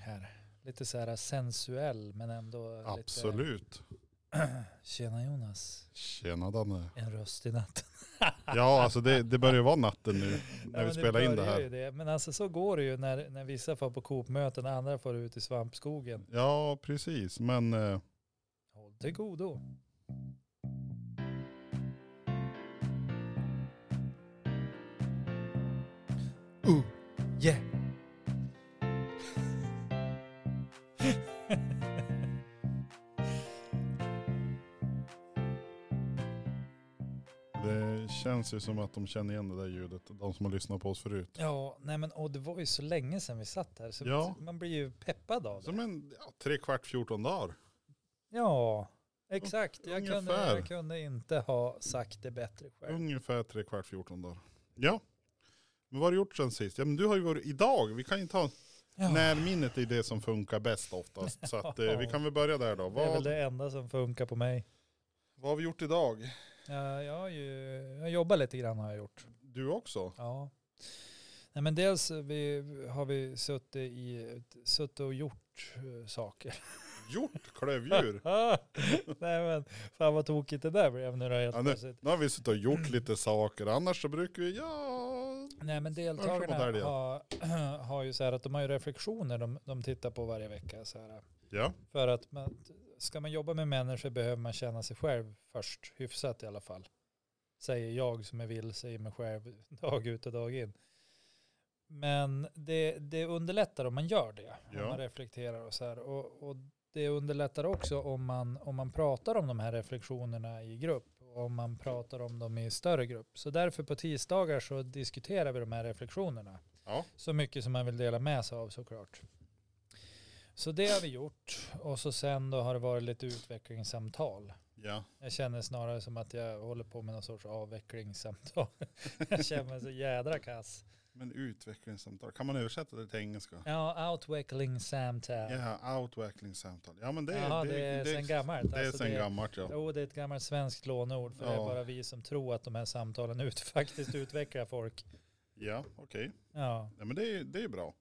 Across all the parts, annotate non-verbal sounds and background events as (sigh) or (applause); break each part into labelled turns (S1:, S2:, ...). S1: här. Lite så här sensuell men ändå lite...
S2: Absolut.
S1: Tjena Jonas,
S2: Tjena Danne.
S1: en röst i natten.
S2: Ja, alltså det, det börjar ju vara natten nu
S1: Ja,
S2: när
S1: men
S2: vi spelar in det
S1: börjar ju
S2: här.
S1: Det. Men alltså så går det ju när, när vissa får på Coop-möten och andra får ut i svampskogen.
S2: Ja, precis. Men eh,
S1: Håll till godo. Uh, yeah.
S2: det känns ju som att de känner igen det där ljudet, de som har lyssnat på oss förut.
S1: Ja, nej men och det var ju så länge sedan vi satt här så
S2: Ja.
S1: man blir ju peppad av det.
S2: Som en Alltså, ja, tre kvart, fjorton dagar.
S1: Ja, exakt. Jag kunde,
S2: Ungefär. Mm.
S1: jag kunde inte ha sagt det bättre själv.
S2: Ungefär tre kvart, fjorton dagar. Ja. Men vad har du gjort sen sist? Ja, men du har ju varit idag. Vi kan ju ta
S1: Ja,
S2: närminnet är det som funkar bäst oftast. Så att, eh, vi kan väl börja där då.
S1: det är väl
S2: Vad,
S1: det enda som funkar på mig.
S2: vad har vi gjort idag?
S1: Ja, jag har ju, jag jobbar lite grann har jag gjort.
S2: Du också?
S1: Ja. Nej, men dels vi, har vi suttit, i, suttit och gjort eh, saker.
S2: Gjort klövdjur.
S1: (laughs) Nej men fan vad tokigt det där blev nu då helt
S2: Ja,
S1: plötsligt.
S2: Nu har vi suttit och gjort lite saker, annars så brukar vi, ja,
S1: Nej men
S2: Varsågod, här
S1: deltagarna
S2: är det.
S1: har, (clears throat) har ju så här att de har ju reflektioner de, de tittar på varje vecka. Så här.
S2: ja,
S1: För att man, ska man jobba med människor behöver man känna sig själv först, hyfsat i alla fall. Säger jag som är vilse i mig själv (laughs) dag ut och dag in. Men det, det underlättar om man gör det, om
S2: Ja.
S1: man reflekterar och så här. Och, och det underlättar också om man, om man pratar om de här reflektionerna i grupp och om man pratar om dem i större grupp. Så därför på tisdagar så diskuterar vi de här reflektionerna.
S2: Ja.
S1: Så mycket som man vill dela med sig av såklart. Så det har vi gjort och så sen då har det varit lite utvecklingssamtal.
S2: ja,
S1: Jag känner snarare som att jag håller på med någon sorts avvecklingssamtal. (laughs) jag känner mig så jädra kass.
S2: men utvecklingssamtal, kan man översätta det till engelska?
S1: Ja, outvecklingssamtal.
S2: Ja, outvecklingssamtal. Ja, men det,
S1: Jaha,
S2: är
S1: det är sen gammalt.
S2: Det är
S1: Alltså,
S2: sen
S1: det-
S2: gammalt, ja.
S1: Jo, det är ett gammalt svenskt lånord för det är
S2: Ja.
S1: bara vi som tror att de här samtalen ut, (laughs) faktiskt utvecklar folk.
S2: Ja, okej.
S1: Ja,
S2: Ja, men det är, det är bra.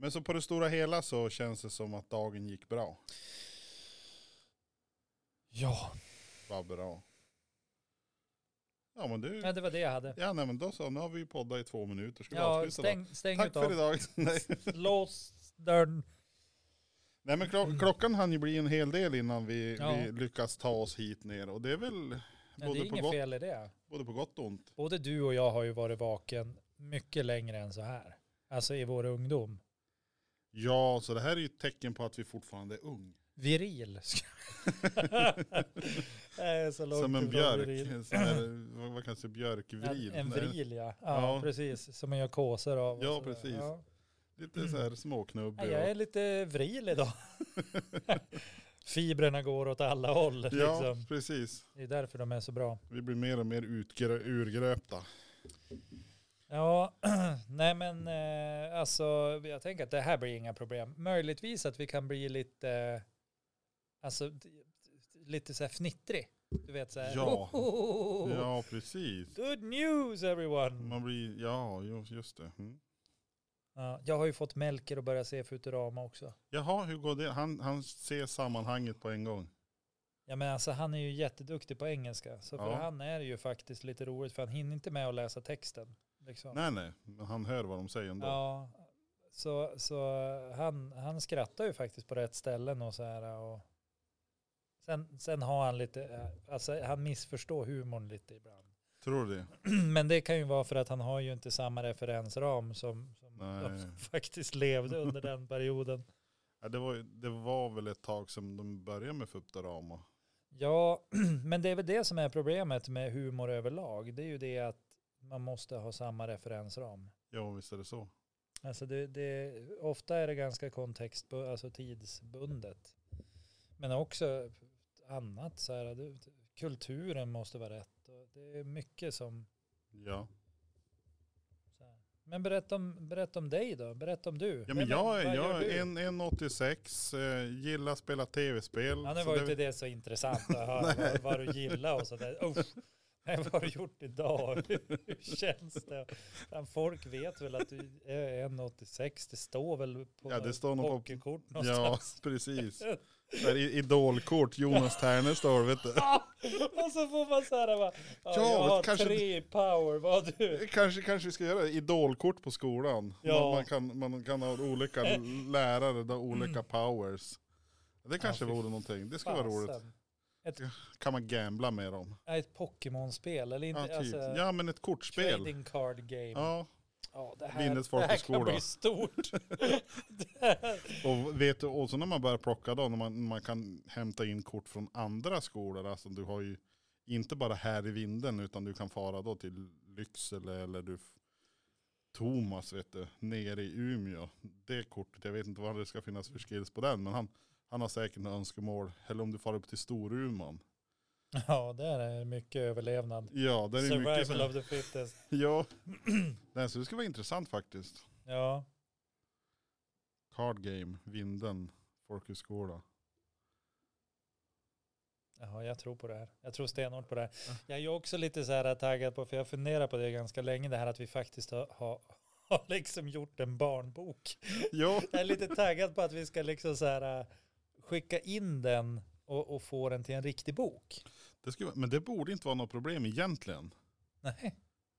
S2: Men så på det stora hela så känns det som att dagen gick bra.
S1: ja.
S2: Vad bra. Ja, men du.
S1: ja det var det jag hade.
S2: Ja, nej, men då så. Nu har vi ju poddat i två minuter. Ska vi
S1: Ja,
S2: avsluta
S1: stäng,
S2: då?
S1: stäng
S2: Tack för
S1: utav.
S2: idag. nej.
S1: Lås dörren.
S2: nej, men klo- klockan hann ju bli en hel del innan vi,
S1: Mm. Ja.
S2: vi lyckas ta oss hit ner. Och det är väl
S1: Nej, det
S2: både,
S1: är
S2: på
S1: inget
S2: gott,
S1: fel i det.
S2: både på gott och ont.
S1: Både du och jag har ju varit vaken mycket längre än så här. Alltså i vår ungdom.
S2: Ja, så det här är ju ett tecken på att vi fortfarande är ung.
S1: Viril. (laughs) Nej, så långt
S2: Som en
S1: ifrån viril.
S2: björk. Sån här, vad- vad kallas det? Björkvril.
S1: En, en
S2: Nej,
S1: vril ja. ja.
S2: Ja.
S1: precis. Som man gör kåsor av. och
S2: Ja,
S1: sådär.
S2: precis.
S1: Ja.
S2: Lite så här småknubbig.
S1: Nej, jag är lite vril
S2: (laughs)
S1: idag. (laughs) Fibrerna går åt alla håll.
S2: och- ja,
S1: Liksom.
S2: precis.
S1: Det är därför de är så bra.
S2: Vi blir mer och mer utgrö- urgröpta.
S1: Ja, (clears throat) nej men eh, alltså jag tänker att det här blir inga problem. Möjligtvis att vi kan bli lite, eh, alltså d- d- lite så här fnittrig. Du vet så här.
S2: Ja.
S1: Oh.
S2: Ja, Mm. precis.
S1: Good news everyone.
S2: Man blir, ja, ju- just det. Mm.
S1: Ja, jag har ju fått Melker att börja se Futurama också.
S2: Jaha, hur går det? Han, han ser sammanhanget på en gång.
S1: Ja men alltså han är ju jätteduktig på engelska. Så för
S2: Ja.
S1: han är det ju faktiskt lite roligt för han hinner inte med att läsa texten. Liksom.
S2: Nej, nej, men han hör vad de säger ändå.
S1: Ja, så, så han, han skrattar ju faktiskt på rätt ställen och så här. Och sen, sen har han lite, eh, alltså han missförstår humorn lite ibland. (clears throat)
S2: Tror du det?
S1: Men det kan ju vara för att han har ju inte samma referensram som, som de
S2: Nej.
S1: som faktiskt levde under den perioden.
S2: Ja, det, var, ju- det var väl ett tag sedan de började med Futurama.
S1: Ja, (clears throat) men det är väl det som är problemet med humor överlag. Det är ju det att man måste ha samma referensram.
S2: Ja, visst är det så.
S1: Alltså det, det, ofta är det ganska kontext, alltså tidsbundet. Men också annat, så här, det, kulturen måste vara rätt. Och det är mycket som...
S2: Ja.
S1: Så här. Men berätta om, berätta om dig då, berätta om du.
S2: Ja, men
S1: Vem-
S2: jag,
S1: vad
S2: är-
S1: gör
S2: jag
S1: du?
S2: är en- 1,86, eh, gillar att spela tv-spel.
S1: Ja, nu
S2: så
S1: var ju
S2: det- (laughs)
S1: inte det så intressant att höra vad, vad du gillar och sådär. Usch. Nej, vad har du gjort idag? (laughs) Hur känns det? Fan, folk vet väl att du är 1,86. Det står väl på
S2: Ja, det står nog på-
S1: hockeykort
S2: Ja,
S1: någonstans.
S2: (laughs)
S1: (laughs)
S2: precis. Där i- idolkort, Jonas Terne står, vet du.
S1: (laughs) Och så får man så här, va, ja,
S2: Ja,
S1: jag har
S2: kanske-
S1: tre i power, vad har du?
S2: Kanske, kanske vi ska göra idolkort på skolan.
S1: Ja.
S2: Man, man, kan, man kan ha
S1: (laughs)
S2: olika lärare, då, olika powers. Det kanske
S1: Mm. fy
S2: vore någonting. Det skulle vara roligt.
S1: Fasen.
S2: Kan man gambla med dem?
S1: Nej, ett Pokémon-spel eller inte?
S2: Ja, typ.
S1: alltså,
S2: ja men ett kortspel.
S1: Trading card game. Ja.
S2: Ja,
S1: det här,
S2: Vinnes folk
S1: det här
S2: i skolan.
S1: kan bli
S2: (laughs)
S1: stort. (laughs)
S2: och, vet du, och så när man börjar plocka då, när man, man kan hämta in kort från andra skolor. Alltså du har ju inte bara här i vinden utan du kan fara då till Lycksele eller du f- Thomas vet du, nere i Umeå. Det kortet, jag vet inte vad det ska finnas för skills på den men han, han har säkert några önskemål. Eller om du far upp till Storuman.
S1: ja, det här är mycket överlevnad.
S2: Ja, det är ju mycket
S1: Survival
S2: som,
S1: of the fittest.
S2: (laughs) Ja, Nej, så det skulle vara intressant faktiskt.
S1: Ja,
S2: Card game, vinden, folkhögskola.
S1: Jaha, jag tror på det här. Jag tror stenhårt på det här. Jag är också lite så här taggad på, för jag funderar på det ganska länge, det här att vi faktiskt har, har, (laughs) har liksom gjort en barnbok.
S2: Ja.
S1: Jag är lite taggad på att vi ska liksom så här äh, skicka in den och, och få den till en riktig bok.
S2: Det skulle, men det borde inte vara något problem egentligen.
S1: Nej.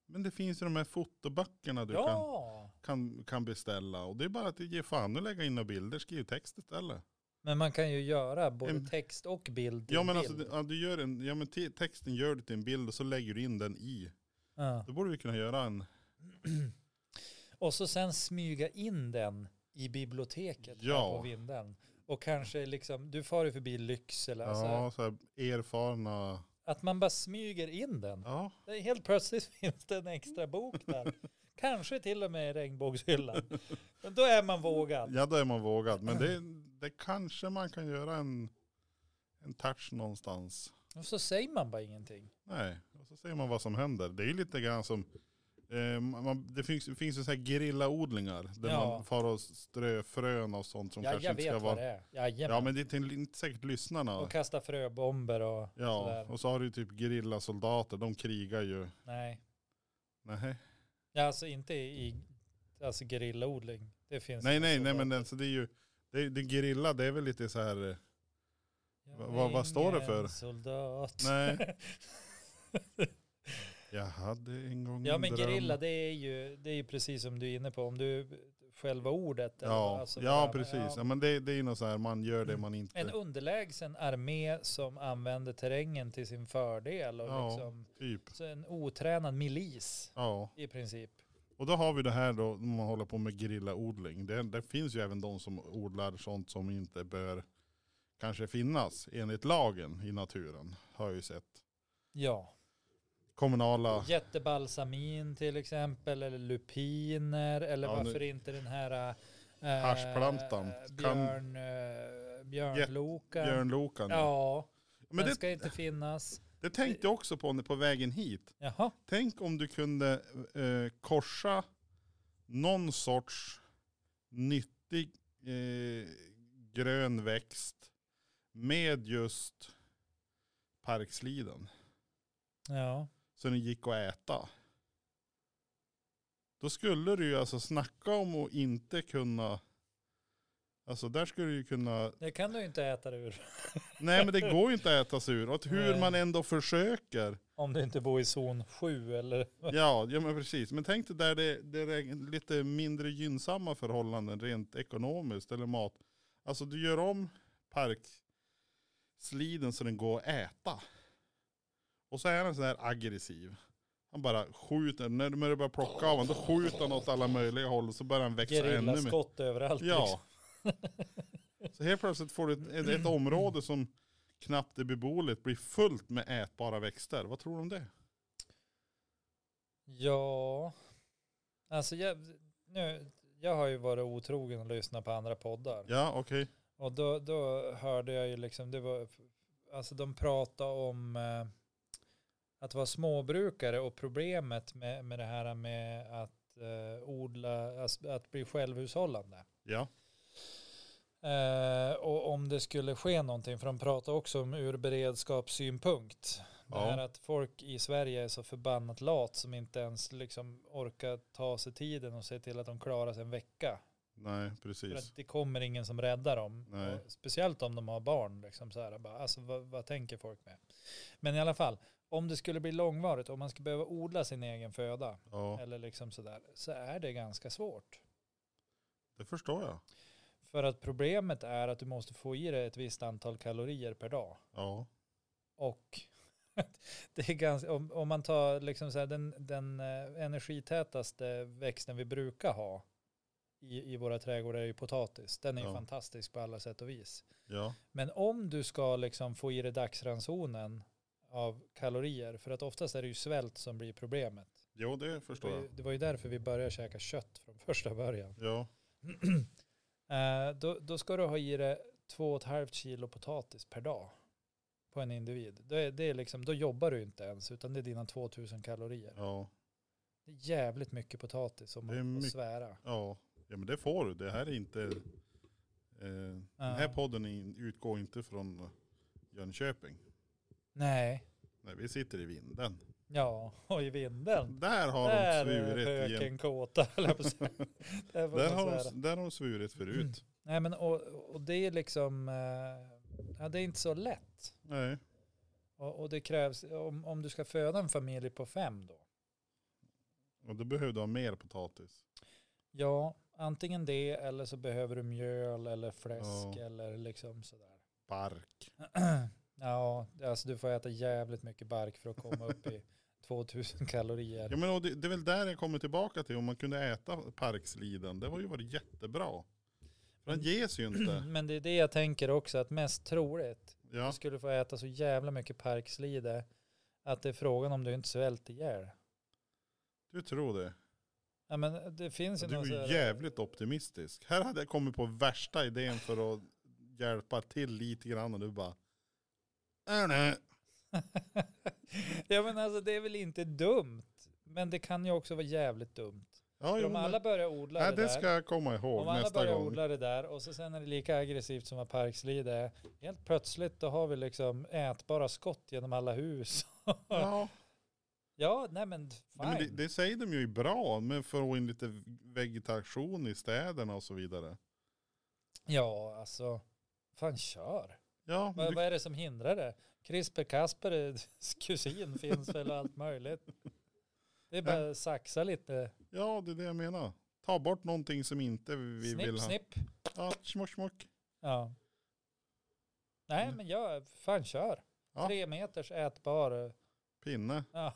S2: Men det finns ju de här fotoböckerna du kan,
S1: Ja,
S2: kan, kan beställa. Och det är bara att ge fan och lägga in några bilder, skriv text istället.
S1: men man kan ju göra både
S2: En-
S1: text och bild. i
S2: Ja
S1: en
S2: men
S1: bild.
S2: alltså, du- ja, du gör en, ja men te- texten gör du till en bild och så lägger du in den i.
S1: Ja. (clears throat)
S2: Då borde vi kunna göra en,
S1: Och så sen smyga in den i biblioteket här
S2: Ja.
S1: på vinden. Och kanske liksom, du far ju förbi Lycksele. Alltså,
S2: ja så här erfarna,
S1: att man bara smyger in den.
S2: ja.
S1: Det är Helt plötsligt (laughs) finns det en extra bok där. Kanske till och med i
S2: (laughs)
S1: regnbågshyllan. Men då är man vågad.
S2: Ja då är man vågad. Men det, det kanske man kan göra en, en touch någonstans.
S1: Och så säger man bara ingenting.
S2: Nej, och så ser man vad som händer. Det är ju lite grann som, eh, man, det finns, det finns ju så här grillaodlingar där
S1: Ja.
S2: man far och strö frön och sånt som
S1: Ja,
S2: kanske
S1: jag
S2: inte ska
S1: vet vad det
S2: vara.
S1: är. Jajamän.
S2: Ja men det är till, inte säkert lyssnarna.
S1: Och kasta fröbomber och
S2: ja,
S1: sådär.
S2: och så har du ju typ grillasoldater, de krigar ju.
S1: Nej.
S2: Nej,
S1: Ja, alltså inte i, i alltså gerillaodling. Det finns
S2: nej,
S1: ju
S2: nej,
S1: så
S2: nej
S1: där.
S2: men alltså, det är ju, det, är- det gerilla det är väl lite så här, eh,
S1: Jag
S2: vad- vad- vad står det
S1: är
S2: för?
S1: ingen Soldat.
S2: nej. Jag hade en
S1: (laughs)
S2: gång
S1: Ja
S2: en
S1: men
S2: dröm.
S1: gerilla det är ju det är ju precis som du är inne på. Om du själva ordet. eller
S2: Ja,
S1: vad, alltså
S2: ja
S1: bara-
S2: precis. Ja,
S1: ja. Mm.
S2: men det, det är ju något så här, man gör det man inte...
S1: En underlägsen armé som använder terrängen till sin fördel. Och
S2: Ja.
S1: liksom,
S2: Typ.
S1: så en otränad milis
S2: Ja.
S1: i princip.
S2: Och då har vi det här då, när man håller på med grillaodling. Det, det finns ju även de som odlar sånt som inte bör kanske finnas enligt lagen i naturen. Har jag ju sett.
S1: Ja,
S2: Kommunala,
S1: jättebalsamin till exempel eller lupiner eller
S2: Ja, nu-
S1: varför inte den här äh,
S2: Haschplantan. Kan-
S1: Björn, eh, björnlokan.
S2: björnlokan.
S1: Ja,
S2: Men
S1: den
S2: det,
S1: ska inte finnas.
S2: det tänkte jag också på när- på vägen hit.
S1: Jaha,
S2: Tänk om du kunde eh, korsa någon sorts nyttig eh, grön växt med just parksliden.
S1: ja.
S2: så den gick att äta. Då skulle du ju alltså snacka om att inte kunna, alltså där skulle du ju kunna,
S1: Det kan du ju inte äta det ur. (laughs)
S2: nej men det går ju inte att äta sig ur. Och att hur
S1: Nej.
S2: man ändå försöker.
S1: Om du inte bor i zon 7 eller
S2: Ja, ja men precis. Men tänk dig där det, det är lite mindre gynnsamma förhållanden rent ekonomiskt eller mat. Alltså du gör om parksliden så den går att äta. Och så är han sån här aggressiv. Han bara skjuter, när när du börjar plocka av honom då skjuter han åt alla möjliga håll och så börjar han växa ännu mer.
S1: gerillaskott överallt. liksom.
S2: Ja. (laughs) Så helt plötsligt får du ett, ett, ett område som knappt är beboeligt blir fullt med ätbara växter. Vad tror du om det?
S1: Ja, alltså jag, nu, jag har ju varit otrogen och lyssnat på andra poddar.
S2: Ja, okej.
S1: Och då, då hörde jag ju liksom, det var, alltså de pratade om eh, att vara småbrukare och problemet med, med det här med att eh, odla, alltså att bli självhushållande.
S2: Ja.
S1: Eh, och om det skulle ske någonting, för de pratade också om ur beredskapssynpunkt. Det här
S2: Ja.
S1: att folk i Sverige är så förbannat lat som inte ens liksom orkar ta sig tiden och se till att de klarar sig en vecka.
S2: Nej,
S1: För
S2: precis.
S1: att det kommer ingen som räddar dem.
S2: Nej.
S1: Och speciellt om de har barn. Liksom så här, bara, alltså, vad, vad tänker folk med? Men i alla fall, om det skulle bli långvarigt, om man ska behöva odla sin egen föda
S2: Ja,
S1: eller liksom sådär, så är det ganska svårt.
S2: det förstår jag.
S1: För att problemet är att du måste få i dig ett visst antal kalorier per dag.
S2: Ja,
S1: Och (laughs) det är ganska, om, om man tar liksom så här, den, den eh, energitätaste växten vi brukar ha i, i våra trädgårdar är ju potatis. Den är ju
S2: Ja.
S1: fantastisk på alla sätt och vis.
S2: ja,
S1: Men om du ska liksom få i dig dagsransonen av kalorier, för att oftast är det ju svält som blir problemet.
S2: jo det
S1: Det
S2: förstår
S1: var ju,
S2: jag.
S1: det var ju därför vi började käka kött från första början. (clears throat)
S2: Ja,
S1: Eh, då, då ska du ha i dig två och ett halvt kilo potatis per dag på en individ. Det är, det är liksom, då jobbar du inte ens, utan det är dina 2000 kalorier.
S2: ja,
S1: Det är jävligt mycket potatis om
S2: Det är
S1: man får
S2: mycket.
S1: svära.
S2: ja. Ja men det får du. Det här är inte... Eh, Den här
S1: Ja.
S2: podden är in- utgår inte från Jönköping.
S1: Nej,
S2: Nej, vi sitter i vinden.
S1: ja, och i vinden.
S2: Där har
S1: Där
S2: de
S1: är
S2: svurit igen.
S1: röken kåta, höll jag på att
S2: (laughs)
S1: säga. Där får
S2: Där
S1: man
S2: har,
S1: svära.
S2: de, där har de svurit förut.
S1: Nej, men och, och det är liksom, eh, ja, det är inte så lätt.
S2: Nej,
S1: Och, och det krävs, om, om du ska föda en familj på fem då,
S2: och då behöver du ha mer potatis.
S1: Ja, antingen det eller så behöver du mjöl eller fläsk
S2: Ja.
S1: eller liksom sådär.
S2: Bark.
S1: Ja, alltså du får äta jävligt mycket bark för att komma upp
S2: (laughs)
S1: i 2000 kalorier.
S2: Ja, men och det, det är väl där jag kommer tillbaka till. Om man kunde äta parksliden. Det var ju varit jättebra. För
S1: Mm.
S2: den ges ju inte.
S1: Men det är det jag tänker också, att mest troligt, du
S2: Ja,
S1: skulle få äta (clears throat) så jävla mycket parkslide att det är frågan om du inte svälter ihjäl.
S2: du tror det.
S1: Ja, men det finns ju
S2: Du
S1: någon så
S2: är
S1: här-
S2: jävligt optimistisk. Här hade jag kommit på värsta idén för att hjälpa till lite grann och du bara. "Äh, Nej.
S1: ja, men alltså det är väl inte dumt. Men det kan ju också vara jävligt dumt.
S2: Ja,
S1: För
S2: jo,
S1: om alla
S2: men,
S1: börjar odla
S2: nej,
S1: det där.
S2: det ska jag komma ihåg
S1: Om alla
S2: nästa
S1: börjar
S2: gång.
S1: odla det där och så sen är det lika aggressivt som vad parkslide är. Helt plötsligt då har vi liksom ätbara skott genom alla hus.
S2: Ja.
S1: (laughs) ja, nej men fine.
S2: Nej, men det, det säger de ju är bra, men för att få in lite vegetation i städerna och så vidare.
S1: Ja, alltså. Fan kör.
S2: Ja, men
S1: Vad,
S2: du,
S1: vad är det som hindrar det? Crisper Kaspers (laughs) kusin finns väl och allt möjligt. Det är bara att saxa lite.
S2: ja, det är det jag menar. Ta bort någonting som inte vi
S1: snipp,
S2: vill ha.
S1: snipp.
S2: Ja, smock, smock.
S1: Ja. Nej,
S2: Mm.
S1: men jag, fan kör.
S2: Ja.
S1: Tre meters ätbar.
S2: Pinne.
S1: Ja.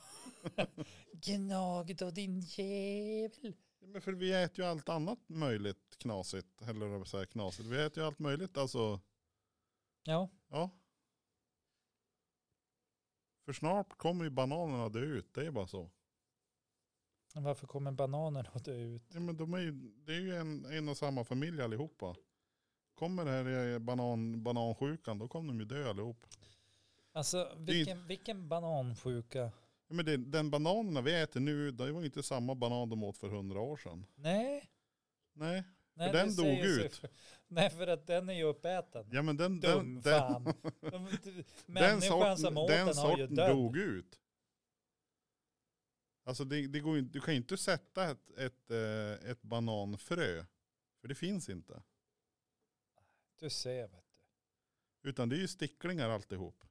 S1: Gnag då din jävel.
S2: Ja, Men för vi äter ju allt annat möjligt knasigt. Eller vad säger jag, knasigt. Vi äter ju allt möjligt. Alltså,
S1: Ja,
S2: ja. För snart kommer ju bananerna dö ut. Det är bara så.
S1: men varför kommer bananen att dö ut?
S2: Ja, men de är ju, det är ju en, en och samma familj allihopa. Kommer det här eh, banan, banansjukan, då kommer de ju dö allihop.
S1: Alltså
S2: är inte-
S1: vilken, vilken banansjuka.
S2: Ja, men det, den bananerna vi äter nu, det var ju inte samma banan de åt för hundra år sedan.
S1: Nej.
S2: Nej,
S1: nej
S2: den
S1: det
S2: dog
S1: säger sig
S2: ut.
S1: för- Nej, för att den är ju uppäten.
S2: ja men den, den,
S1: Dum
S2: den, (laughs)
S1: fan. De- de-
S2: den
S1: Människan som
S2: sorten,
S1: åt
S2: den
S1: den har ju
S2: sorten
S1: dött.
S2: dog ut. Alltså det, det går ju, du kan ju inte sätta ett, ett, eh, ett bananfrö, för det finns inte.
S1: Du ser vet du.
S2: Utan det är ju sticklingar alltihop.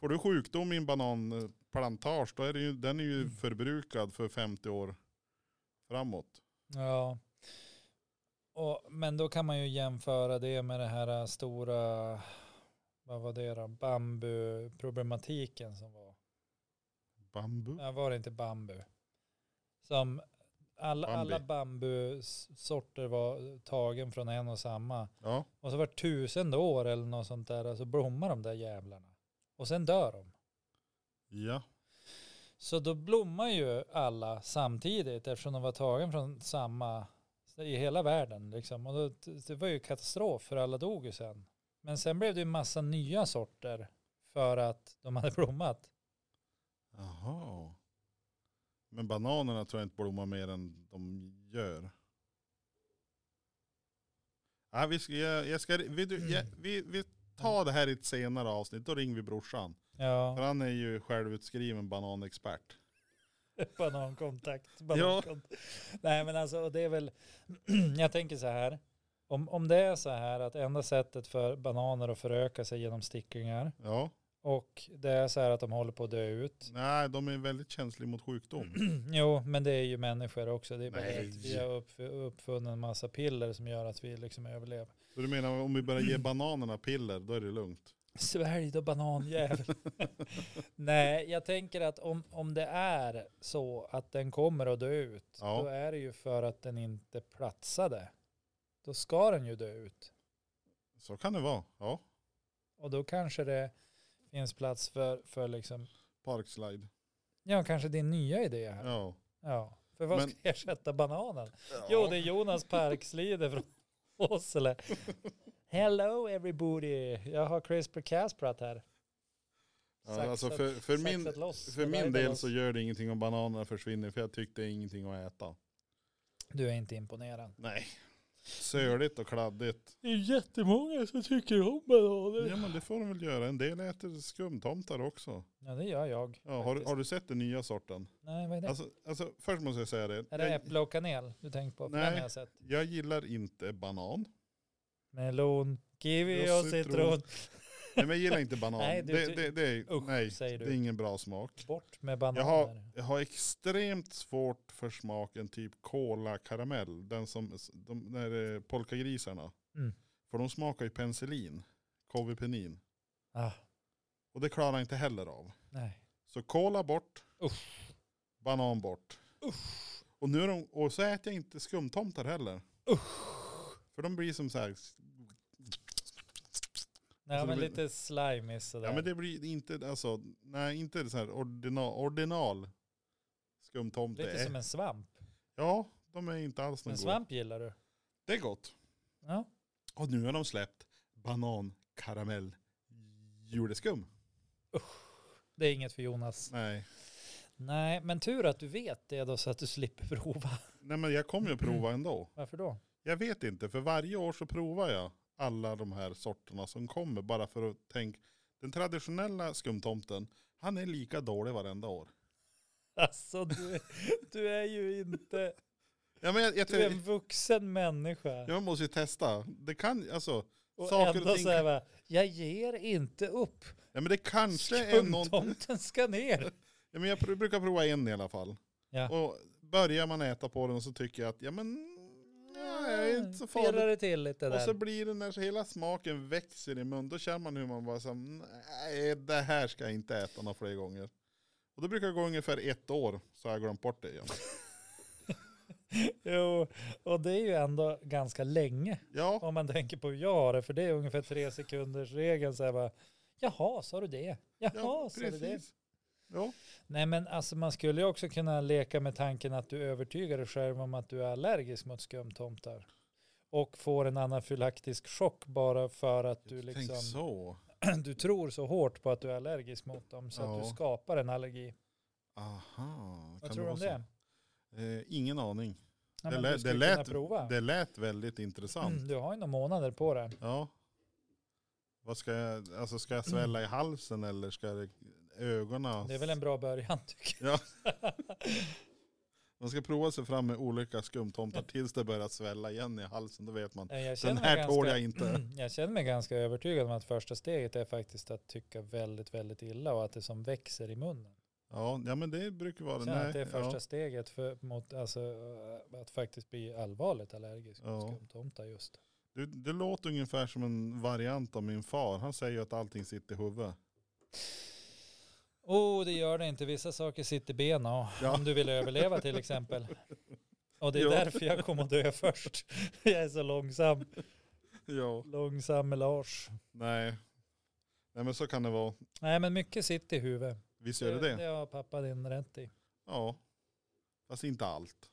S2: Får du sjukdom i en bananplantage, då är det ju, den är ju förbrukad för 50 år framåt.
S1: Ja. Och, men då kan man ju jämföra det med det här stora, vad var det då, bambuproblematiken som var.
S2: Bambu.
S1: Nej, var det inte bambu? Som alla,
S2: Bambi.
S1: alla bambusorter var tagen från en och samma.
S2: Ja,
S1: Och så var tusende år eller något sånt där så blommar de där jävlarna. Och sen dör de.
S2: ja,
S1: Så då blommar ju alla samtidigt eftersom de var tagen från samma i hela världen liksom. Och då, det var ju katastrof för alla dog ju sen. Men sen blev det ju massa nya sorter för att de hade blommat.
S2: Jaha. Men bananerna tror jag inte blommar mer än de gör. Ja, Mm. vi, ska, jag, jag ska, vi, du, jag, vi, vi tar det här i ett senare avsnitt. Då ringer vi brorsan. För
S1: Ja,
S2: han är ju självutskriven bananexpert.
S1: banankontakt. banankontakt. Nej men alltså och det är väl, (clears throat) jag tänker så här. Om, om det är så här att enda sättet för bananer att föröka sig genom sticklingar
S2: Ja.
S1: och det är så här att de håller på att dö ut.
S2: Nej, de är väldigt känsliga mot sjukdom.
S1: (clears throat) Jo, men det är ju människor också. Det är bara
S2: Nej.
S1: att vi har uppf- uppfunnit en massa piller som gör att vi liksom överlever.
S2: Så du menar om vi börjar ge bananerna piller, då är det lugnt?
S1: Svälj då bananjävel. (laughs) Nej, jag tänker att om, om det är så att den kommer att dö ut,
S2: Ja.
S1: då är det ju för att den inte platsade. Då ska den ju dö ut.
S2: Så kan det vara. Ja.
S1: Och då kanske det finns plats för, för liksom,
S2: Parkslide.
S1: ja kanske din nya idé här. Ja.
S2: Ja.
S1: För vad
S2: Men-
S1: ska (laughs) ersätta bananen? Jo, det är Jonas Parkslide från Åsele. Hello everybody, jag har CRISPR Casprat här.
S2: ja, alltså
S1: Saxat-
S2: för, för min,
S1: saxat loss.
S2: för min
S1: Guidat
S2: del
S1: oss.
S2: så gör det ingenting om bananerna försvinner, för jag tyckte det är ingenting att äta.
S1: Du är inte imponerad.
S2: Nej. Söligt och kladdigt.
S1: Det är jättemånga som tycker om bananer.
S2: Ja men det får de väl göra. En del äter skumtomtar också.
S1: Ja, det gör jag.
S2: Ja, har, du-
S1: faktiskt.
S2: har du sett den nya sorten?
S1: Nej, vad är det?
S2: Alltså, alltså först måste jag säga det.
S1: är det
S2: Jag,
S1: äpple och kanel du tänker på? För
S2: Nej.
S1: Den har jag sett.
S2: jag gillar inte banan.
S1: Melon, kiwi
S2: Och
S1: och
S2: citron.
S1: citron.
S2: Nej, men jag gillar inte
S1: (laughs)
S2: banan.
S1: Nej, du-
S2: det,
S1: du-
S2: det, det, är,
S1: Usch,
S2: nej,
S1: säger
S2: det
S1: du.
S2: är ingen bra smak.
S1: Bort med
S2: Jag
S1: bananer.
S2: har, jag har extremt svårt för smaken typ cola karamell. Den som, de där eh, polkagrisarna.
S1: Mm.
S2: För de smakar ju penicillin. Kovipenin.
S1: Ah,
S2: Och det klarar jag inte heller av.
S1: nej.
S2: Så cola bort.
S1: Usch.
S2: Banan bort. Och, nu är de, och så äter jag inte skumtomtar heller. För de blir som så här.
S1: Nej,
S2: Alltså,
S1: men
S2: det blir-
S1: lite slimy sådär.
S2: Ja men det blir inte, alltså, nej inte så här ordinal, ordinal skumtomte.
S1: lite som en svamp.
S2: Ja, de är inte alls någon
S1: En
S2: god.
S1: svamp gillar du.
S2: Det är gott.
S1: Ja.
S2: Och nu har de släppt banan, karamell, jordeskum.
S1: Det är inget för Jonas.
S2: Nej.
S1: Nej, men tur att du vet det då så att du slipper (laughs) prova.
S2: nej men jag kommer ju att prova ändå.
S1: Varför då?
S2: Jag vet inte, för varje år så provar jag alla de här sorterna som kommer. Bara för att tänka, den traditionella skumtomten, han är lika dålig varenda år.
S1: Alltså du, du är ju inte,
S2: Ja, men jag, jag,
S1: du är
S2: jag,
S1: en vuxen människa.
S2: jag måste ju testa. Det kan, alltså,
S1: Och
S2: saker och
S1: ändå
S2: ting
S1: så här bara, jag ger inte upp.
S2: ja, men det kanske är någonting.
S1: Skumtomten ska
S2: (laughs)
S1: ner.
S2: Ja, men jag pr- brukar prova en i alla fall.
S1: Ja.
S2: Och börjar man äta på den så tycker jag att, ja men, ja, det är inte så
S1: Pirrar
S2: farligt.
S1: det till lite
S2: Och
S1: där.
S2: så blir det när så hela smaken växer i mun, då känner man hur man bara så här, nej det här ska jag inte äta några fler gånger. Och då brukar det gå ungefär ett år så har jag glömt bort det igen.
S1: Jo, och det är ju ändå ganska länge
S2: Ja,
S1: om man tänker på hur jag har det. För det är ungefär tre sekunders regeln. Så här bara, Jaha, sa du det? Jaha,
S2: ja
S1: sa du det?
S2: precis. Ja.
S1: Nej men alltså man skulle ju också kunna leka med tanken att du övertygar dig själv om att du är allergisk mot skumtomtar. Och får en anafylaktisk chock bara för att du
S2: Tänk
S1: liksom...
S2: så.
S1: (laughs) du tror så hårt på att du är allergisk mot dem så att
S2: Ja.
S1: du skapar en allergi.
S2: Aha.
S1: Vad
S2: kan
S1: tror du
S2: vara
S1: om
S2: så?
S1: det?
S2: Eh, ingen aning.
S1: Ja,
S2: det,
S1: men du
S2: lät, det,
S1: skulle kunna
S2: lät,
S1: prova.
S2: det lät väldigt intressant.
S1: Mm, du har ju några månader på dig.
S2: Ja. Vad ska jag, alltså ska jag svälla i halsen eller ska det, ögonen?
S1: Det är väl en bra början (laughs) tycker jag.
S2: Ja. Man ska prova sig fram med olika skumtomtar tills det börjar svälla igen i halsen. Då vet man.
S1: Nej, jag känner
S2: Den
S1: mig
S2: här
S1: ganska, Mm.
S2: tål jag inte.
S1: Jag känner mig ganska övertygad om att första steget är faktiskt att tycka väldigt, väldigt illa och att det som växer i munnen.
S2: Ja, ja men det brukar vara
S1: Jag känner
S2: nej,
S1: att det är första
S2: ja.
S1: steget för, mot, alltså, äh, att faktiskt bli allvarligt allergisk mot
S2: Ja.
S1: skumtomtar just.
S2: du, Det låter ungefär som en variant av min far. Han säger ju att allting sitter i huvudet.
S1: Oh, det gör det inte. Vissa saker sitter i benen och
S2: Ja.
S1: om du vill överleva till exempel. Och det är
S2: Ja.
S1: därför jag kommer att dö först. (laughs) Jag är så långsam.
S2: Ja.
S1: Långsam med Lars.
S2: Nej. Nej men så kan det vara.
S1: Nej, men mycket sitter i huvudet.
S2: Visst gör det det?
S1: Det har pappa din rätt i.
S2: Ja. Fast inte allt.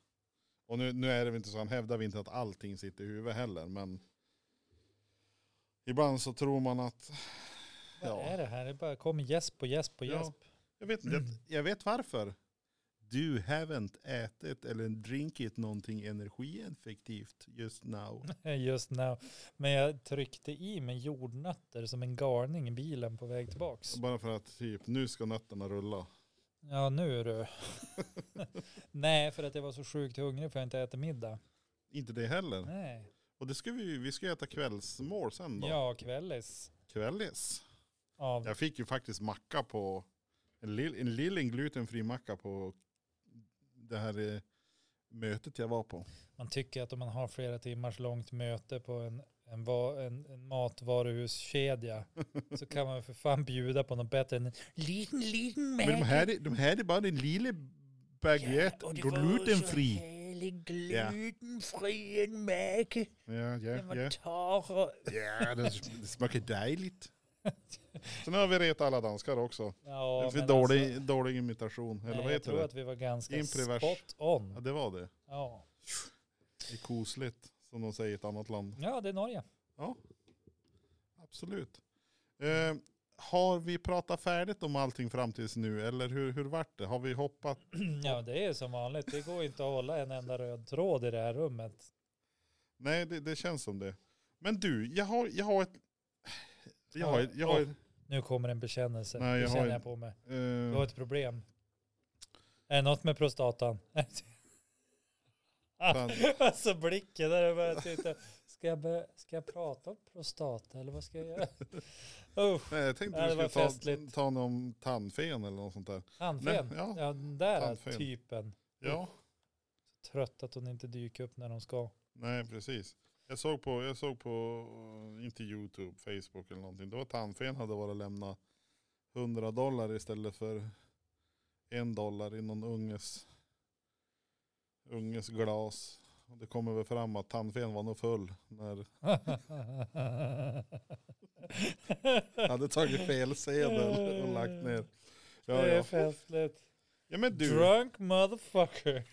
S2: Och nu, nu är det väl inte så, han hävdar väl inte att allting sitter i huvudet heller. Men ibland så tror man att,
S1: Vad
S2: Ja.
S1: är det här? Det bara kommer gäsp (laughs) på gäsp på
S2: Ja.
S1: gäsp.
S2: jag vet, inte, jag, jag vet varför. du haven't ätit eller drinkit någonting energieffektivt just now.
S1: Just now. Men jag tryckte i mig jordnötter som en garning i bilen på väg tillbaks.
S2: Bara för att typ nu ska nötterna rulla.
S1: Ja, nu är du. (laughs) Nej, för att jag var så sjukt hungrig för att jag inte äter middag.
S2: Inte det heller.
S1: Nej.
S2: Och det ska vi, vi ska äta kvällsmål sen då.
S1: Ja, kvällis.
S2: Kvällis.
S1: Av,
S2: Jag fick ju faktiskt macka på, en, lill, en liten glutenfri macka på det här eh, mötet jag var på.
S1: man tycker att om man har flera timmars långt möte på en, en, va, en, en matvaruhuskedja så kan man för fan bjuda på något bättre än en liten, liten
S2: Men de här, är- de här är bara en liten baguette, glutenfri. Ja.
S1: Glutenfri en mäke.
S2: Ja, ja, ja.
S1: torr.
S2: Ja, det, sm- det
S1: (laughs)
S2: smakar dejligt. Sen har vi retat alla danskar också.
S1: Ja,
S2: För
S1: men
S2: dålig,
S1: alltså,
S2: dålig imitation. Eller
S1: nej,
S2: vad
S1: jag
S2: heter
S1: tror
S2: det?
S1: att vi var ganska
S2: Imprivers.
S1: spot
S2: Ja,
S1: on.
S2: det var det.
S1: Ja.
S2: Det är kosligt, som de säger i ett annat land.
S1: ja, det är Norge.
S2: Absolut. Eh, har vi pratat färdigt om allting fram tills nu? Eller hur, hur vart det? Har vi hoppat?
S1: (clears throat) Ja, det är som vanligt. Det går inte att hålla en enda röd tråd i det här rummet.
S2: Nej, det, det känns som det. Men du, jag har, jag har ett... Jag har, ett- jag har, ett-
S1: Nu kommer en bekännelse.
S2: Nej, jag
S1: det
S2: har
S1: känner
S2: en-
S1: jag på mig. Du har
S2: eh,
S1: ett problem. Är det något med prostatan? (laughs)
S2: Fan.
S1: alltså blicken där jag börjar titta. Ska jag, börja, ska jag prata om prostata eller vad ska jag
S2: (laughs)
S1: göra? Usch,
S2: nej, jag tänkte
S1: Nej,
S2: att
S1: det
S2: vi
S1: var
S2: skulle ta,
S1: festligt.
S2: ta någon tandfen eller något sånt där.
S1: handfen.
S2: Nej,
S1: ja.
S2: ja.
S1: den där
S2: Handfen.
S1: typen.
S2: Ja,
S1: Trött att hon inte dyker upp när de
S2: (laughs)
S1: ska.
S2: nej precis. Jag såg på, jag såg på eh, inte YouTube, Facebook eller någonting. Det var tandfen hade varit att lämna 100 dollar istället för en dollar i någon unges, unges glas. Och det kommer väl fram att tandfen var nog full när han hade tagit fel sedel och lagt ner. Ja,
S1: Det är
S2: ja.
S1: festligt.
S2: ja men du,
S1: Drunk motherfucker.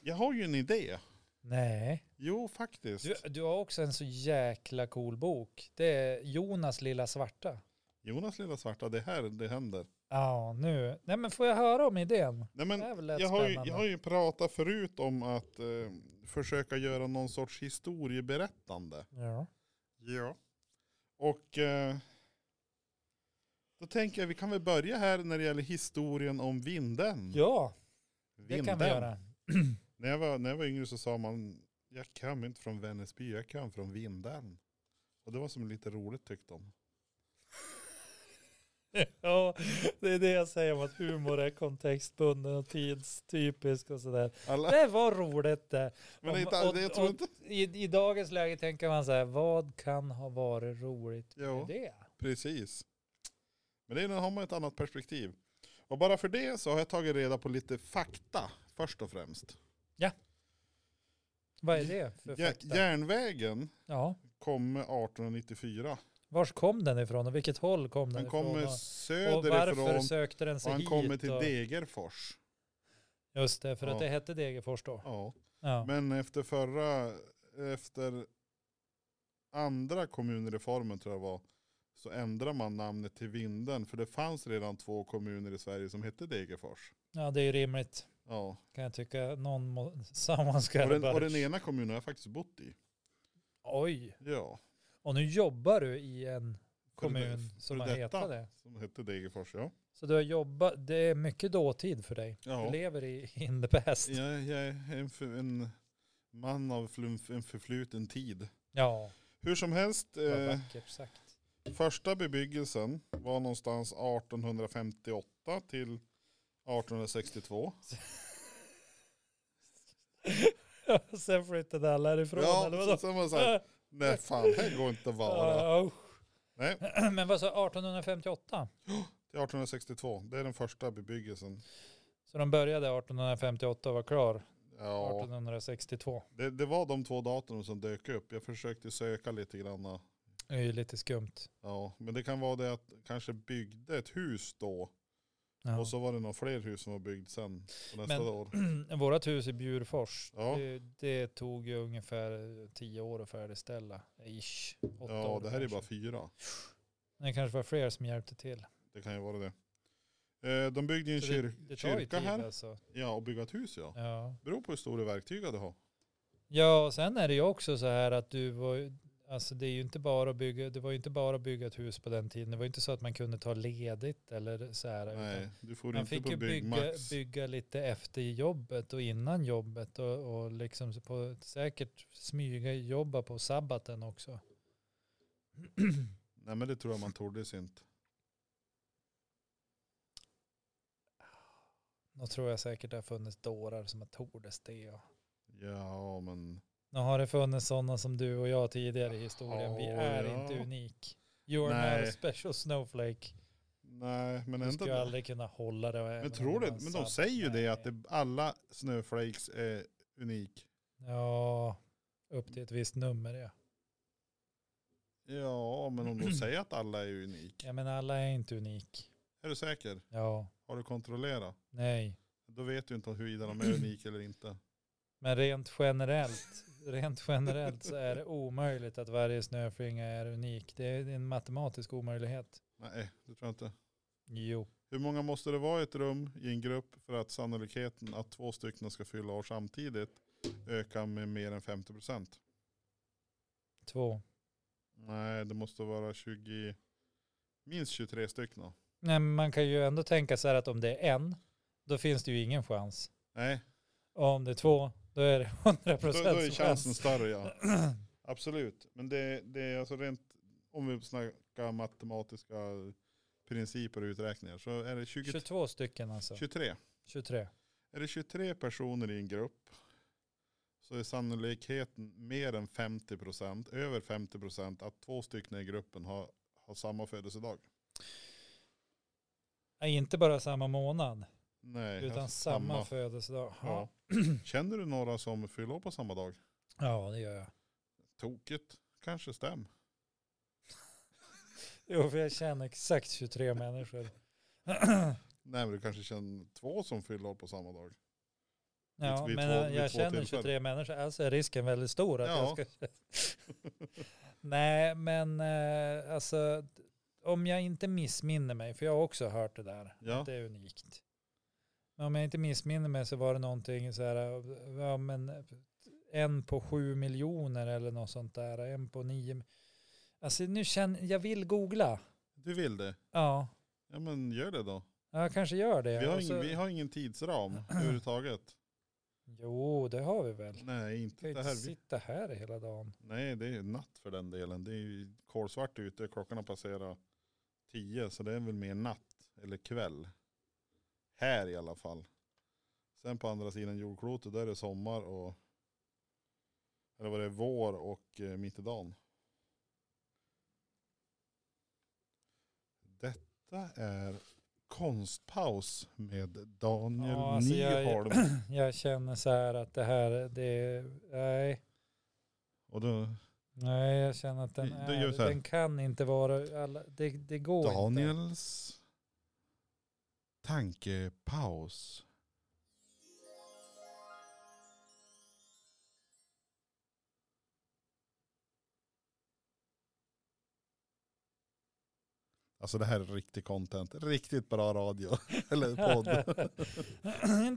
S2: jag har ju en idé.
S1: Nej.
S2: Jo faktiskt.
S1: Du, du har också en så jäkla cool bok. Det är Jonas lilla svarta.
S2: Jonas lilla svarta, det här det händer.
S1: Ja, nu. Nej, men får jag höra om idén?
S2: Nej, men,
S1: Det är väl rätt
S2: jag har, ju,
S1: spännande.
S2: jag har ju pratat förut om att eh, försöka göra någon sorts historieberättande.
S1: Ja.
S2: Ja. Och eh, då tänker jag vi kan väl börja här när det gäller historien om vinden.
S1: Ja, det
S2: vinden.
S1: kan vi göra.
S2: När jag, var, när jag var yngre så sa man jag kom inte från Vännäsby, jag kom från vinden. Och det var som lite roligt tyckte de.
S1: Ja, det är det jag säger om att humor är kontextbunden och tidstypisk och sådär.
S2: Alla,
S1: Det var roligt det.
S2: men
S1: Om-
S2: inte, all-
S1: och-
S2: jag tror
S1: och-
S2: inte.
S1: I, I dagens läge tänker man så här, vad kan ha varit roligt med
S2: Jo.
S1: det?
S2: Precis. Men det är, nu har man ett annat perspektiv. Och bara för det så har jag tagit reda på lite fakta först och främst.
S1: Vad är det för
S2: Jä-
S1: fakta?
S2: Järnvägen
S1: Ja,
S2: kom 1894.
S1: vars kom den ifrån och vilket håll kom den
S2: Den
S1: ifrån?
S2: kommer
S1: och- Och varför
S2: söderifrån
S1: sökte den sig
S2: och han
S1: hit?
S2: kommer till
S1: och-
S2: Degerfors.
S1: Just det, för att
S2: Ja.
S1: det hette Degerfors då.
S2: Ja.
S1: Ja.
S2: Men efter förra, efter andra kommunreformen tror jag det var, så ändrar man namnet till Vinden. För det fanns redan två kommuner i Sverige som hette Degerfors.
S1: ja, det är ju rimligt.
S2: Ja.
S1: Kan jag tycka någon må, (laughs) someone ska
S2: Och, den,
S1: bara-
S2: och den ena kommunen har jag faktiskt bott i.
S1: Oj,
S2: Ja.
S1: och nu jobbar du i en
S2: Före
S1: kommun
S2: det-
S1: som
S2: före
S1: har
S2: detta.
S1: hetat det.
S2: Som hette Degerfors, ja.
S1: Så du har jobbat, det är mycket dåtid för dig. Du
S2: ja.
S1: lever i in the past. Ja.
S2: Jag, jag är en, för, en man av flum- en förfluten tid. Hur som helst,
S1: vad
S2: eh,
S1: vackert sagt. (laughs)
S2: första bebyggelsen var någonstans 1858 till 1862.
S1: Sen flyttade alla härifrån,
S2: ja,
S1: eller vadå?
S2: så, så var det så här, nej fan, här går inte att vara.
S1: (laughs) Ja, (clears throat) usch.
S2: Nej, till
S1: Men vad sa 1858?
S2: 1862, det är den första bebyggelsen.
S1: Så de började 1858 och var klar
S2: Ja,
S1: 1862.
S2: det, det var de två datumen som dök upp. Jag försökte söka lite granna.
S1: Det är ju lite skumt.
S2: Ja, men det kan vara det att kanske byggde ett hus då.
S1: Ja.
S2: Och så var det några fler hus som var byggt sen. på Nästa
S1: Men-
S2: år.
S1: Vårat hus i Bjurfors,
S2: Ja.
S1: det, det tog ju ungefär tio år att färdigställa. Ish. Åtta
S2: Ja,
S1: år
S2: det här är
S1: kanske.
S2: bara fyra.
S1: Det kanske var fler som hjälpte till.
S2: Det kan ju vara det. Eh, de byggde ju en
S1: Så det,
S2: kyr-
S1: det tar ju
S2: kyrka
S1: tid
S2: här.
S1: alltså.
S2: Ja, och bygga ett hus ja.
S1: Ja.
S2: Beror på hur stora verktyg du har.
S1: Ja, och sen är det ju också så här att du var, ju- alltså det är ju inte bara att bygga, det var ju inte bara att bygga ett hus på den tiden. Det var ju inte så att man kunde ta ledigt eller så här. utan
S2: Nej, du får
S1: Man
S2: inte
S1: fick
S2: på
S1: ju bygga,
S2: Byggmax.
S1: bygga lite efter jobbet och innan jobbet och, och liksom på, säkert smyga jobba på sabbaten också.
S2: Nej men det tror jag man tordes inte.
S1: Då tror jag säkert det har funnits dårar som har tordes det. Och.
S2: Ja men
S1: Nu har det funnits sådana som du och jag tidigare i historien. Vi
S2: Ja,
S1: är
S2: ja.
S1: inte unik. You are
S2: Nej.
S1: not a special snowflake.
S2: nej men
S1: Du
S2: ändå.
S1: skulle aldrig kunna hålla det. även om
S2: Men tror
S1: det
S2: du,
S1: var en
S2: men de
S1: sabb.
S2: säger ju det
S1: Nej.
S2: att det, alla snöflakes är unik.
S1: Ja, upp till ett visst nummer ja.
S2: Ja men om
S1: (clears throat)
S2: de säger att alla är unik.
S1: ja men alla är inte unik.
S2: Är du säker?
S1: Ja,
S2: Har du kontrollerat?
S1: nej.
S2: Då vet du inte huruvida de är unika eller inte.
S1: Men rent
S2: (laughs)
S1: generellt, rent generellt så är det omöjligt att varje snöflinga är unik. Det är en matematisk omöjlighet.
S2: Nej, det tror jag inte.
S1: Jo,
S2: Hur många måste det vara i ett rum i en grupp för att sannolikheten att två stycken ska fylla år samtidigt ökar med mer än 50 procent?
S1: två.
S2: Nej, det måste vara 20, minst 23 stycken. då.
S1: Nej, men man kan ju ändå tänka så här att om det är en, då finns det ju ingen chans.
S2: Nej,
S1: Och om det är två, då är det (laughs) 100
S2: då, då är
S1: procent
S2: chansen
S1: chans.
S2: större ja. (clears throat) Absolut, men det, det är alltså rent, om vi snackar matematiska principer och uträkningar så är det 20,
S1: 22 stycken alltså.
S2: 23.
S1: 23.
S2: Är det 23 personer i en grupp så är sannolikheten mer än 50 procent, över 50 procent att två stycken i gruppen har, har samma födelsedag.
S1: Nej, inte bara samma månad,
S2: Nej,
S1: utan
S2: alltså
S1: samma, födelsedag.
S2: ja.
S1: Ja.
S2: (clears throat) Känner du några som fyller år på samma dag?
S1: ja, det gör jag.
S2: Tokigt, kanske stäm.
S1: Jo, för jag känner exakt 23 människor.
S2: Nej, men du kanske känner två som fyller år på samma dag.
S1: Ja,
S2: vid
S1: men
S2: två-
S1: jag-
S2: vid
S1: jag
S2: två
S1: känner
S2: tillfällen.
S1: 23 människor, alltså är risken väldigt stor att
S2: Ja.
S1: jag ska... (laughs) Nej, men eh, alltså om jag inte missminner mig, för jag har också hört det där,
S2: Ja,
S1: att det är unikt. Men om jag inte missminner mig så var det någonting så här, ja men en på sju miljoner eller något sånt där, en på nio. Alltså nu känner, jag vill googla.
S2: du vill det.
S1: Ja,
S2: Ja, men gör det då.
S1: jag kanske gör det.
S2: Vi har,
S1: Och så-
S2: ingen, vi har
S1: (clears throat)
S2: ingen tidsram överhuvudtaget.
S1: Jo, det har vi väl.
S2: Nej, inte
S1: Jag
S2: det
S1: kan ju
S2: här.
S1: inte
S2: Vi,
S1: sitta här hela dagen.
S2: nej, det är natt för den delen. Det är ju kolsvart ute. Klockan har passerat tio, så det är väl mer natt eller kväll. Här i alla fall. Sen på andra sidan jordklotet, där är det sommar och eller vad det är, vår och eh, mitt i dagen. Detta är konstpaus med Daniel
S1: Ja, alltså jag-
S2: Nyholm.
S1: Jag känner så här att det här, det är, nej,
S2: Och då,
S1: nej jag känner att den,
S2: Då gör vi så
S1: är,
S2: här.
S1: den kan inte vara, alla, det, det går inte.
S2: Daniels tankepaus. Alltså det här är riktig content. Riktigt bra radio. (laughs)
S1: (laughs)
S2: Eller podd.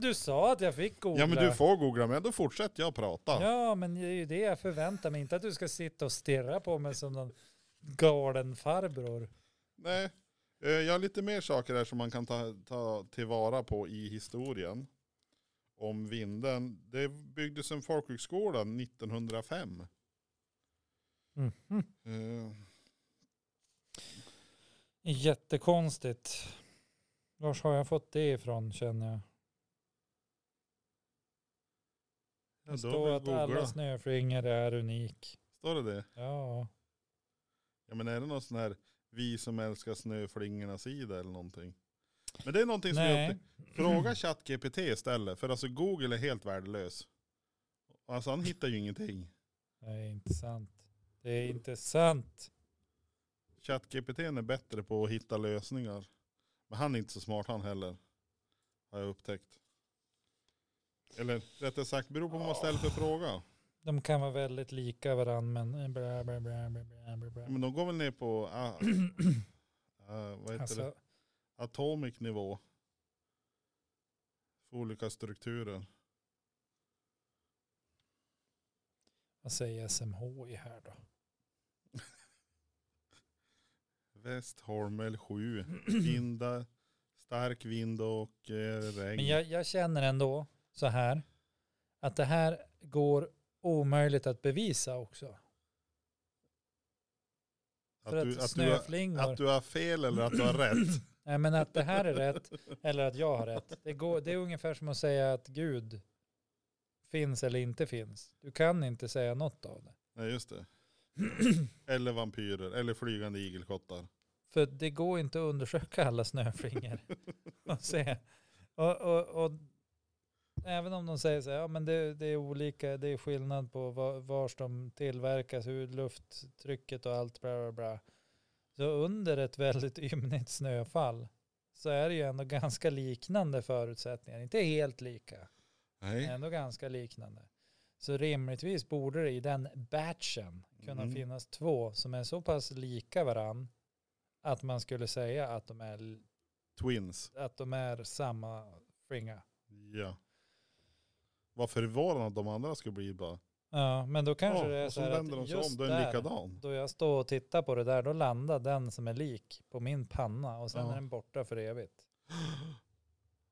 S1: (clears throat) du sa att jag fick googla.
S2: ja men du får googla men då fortsätter jag prata.
S1: Ja, men det är ju det jag förväntar mig, inte att du ska sitta och stirra på mig som någon galen farbror.
S2: Nej. Eh, Jag har lite mer saker här som man kan ta, ta tillvara på i historien. Om vinden. Det byggdes en folkhögskola 1905. Mm.
S1: Mhm.
S2: Eh,
S1: Jättekonstigt. Var har jag fått det ifrån känner jag?
S2: Ja, då
S1: Det står
S2: vill
S1: att alla
S2: googla.
S1: snöflingor är unik.
S2: Står det det?
S1: Ja.
S2: Ja men är det någon sån här vi som älskar snöflingorna sida eller någonting? Men det är någonting som jag
S1: Nej.
S2: upptäckte. Fråga ChatGPT istället. För alltså Google är helt värdelös. Alltså han hittar ju ingenting.
S1: Det är inte sant. Det är inte sant.
S2: ChatGPT är bättre på att hitta lösningar. Men han är inte så smart han heller. Har jag upptäckt. Eller rättare sagt, beror på vad man ställer för fråga.
S1: De kan vara väldigt lika varandra men bla bla bla bla bla bla bla.
S2: Men de
S1: (clears throat)
S2: går väl ner på ah, ah, vad heter
S1: Alltså,
S2: det? atomic nivå. För olika strukturer.
S1: Vad säger SMH i här då?
S2: Västholmel
S1: (clears throat)
S2: 7. Vinda, stark vind och eh, regn.
S1: Men jag, jag känner ändå så här att det här går omöjligt att bevisa också.
S2: att,
S1: För att,
S2: du, att, du har,
S1: snöflingor.
S2: att du har fel eller att du har rätt.
S1: Nej men att (clears throat) det här är
S2: (laughs)
S1: rätt eller att jag har rätt. Det, går, det är ungefär som att säga att Gud finns eller inte finns. Du kan inte säga något av det.
S2: Nej
S1: (clears throat)
S2: just det. Eller vampyrer. Eller flygande igelkottar.
S1: För det går inte att undersöka alla snöflingor och se. Och, och, och även om de säger så här, ja men det, det är olika, det är skillnad på var, vars de tillverkas, hur lufttrycket och allt bla bla bla. Så under ett väldigt (laughs) ymnigt snöfall så är det ju ändå ganska liknande förutsättningar. Inte helt lika, men
S2: Nej.
S1: ändå ganska liknande. Så rimligtvis borde det i den batchen kunna
S2: Mm.
S1: finnas två som är så pass lika varann att man skulle säga att de är,
S2: Twins.
S1: att de är samma flinga.
S2: Ja. Vad förvånande att de andra skulle bli bara.
S1: Ja, men då kanske
S2: "Ja",
S1: det är
S2: och
S1: så
S2: så
S1: här
S2: vänder de
S1: att
S2: sig om,
S1: just
S2: då är den
S1: där, (sniffs)
S2: likadan.
S1: då jag står och tittar på det där, då landar den som är lik på min panna och sen
S2: Ja.
S1: är den borta för evigt.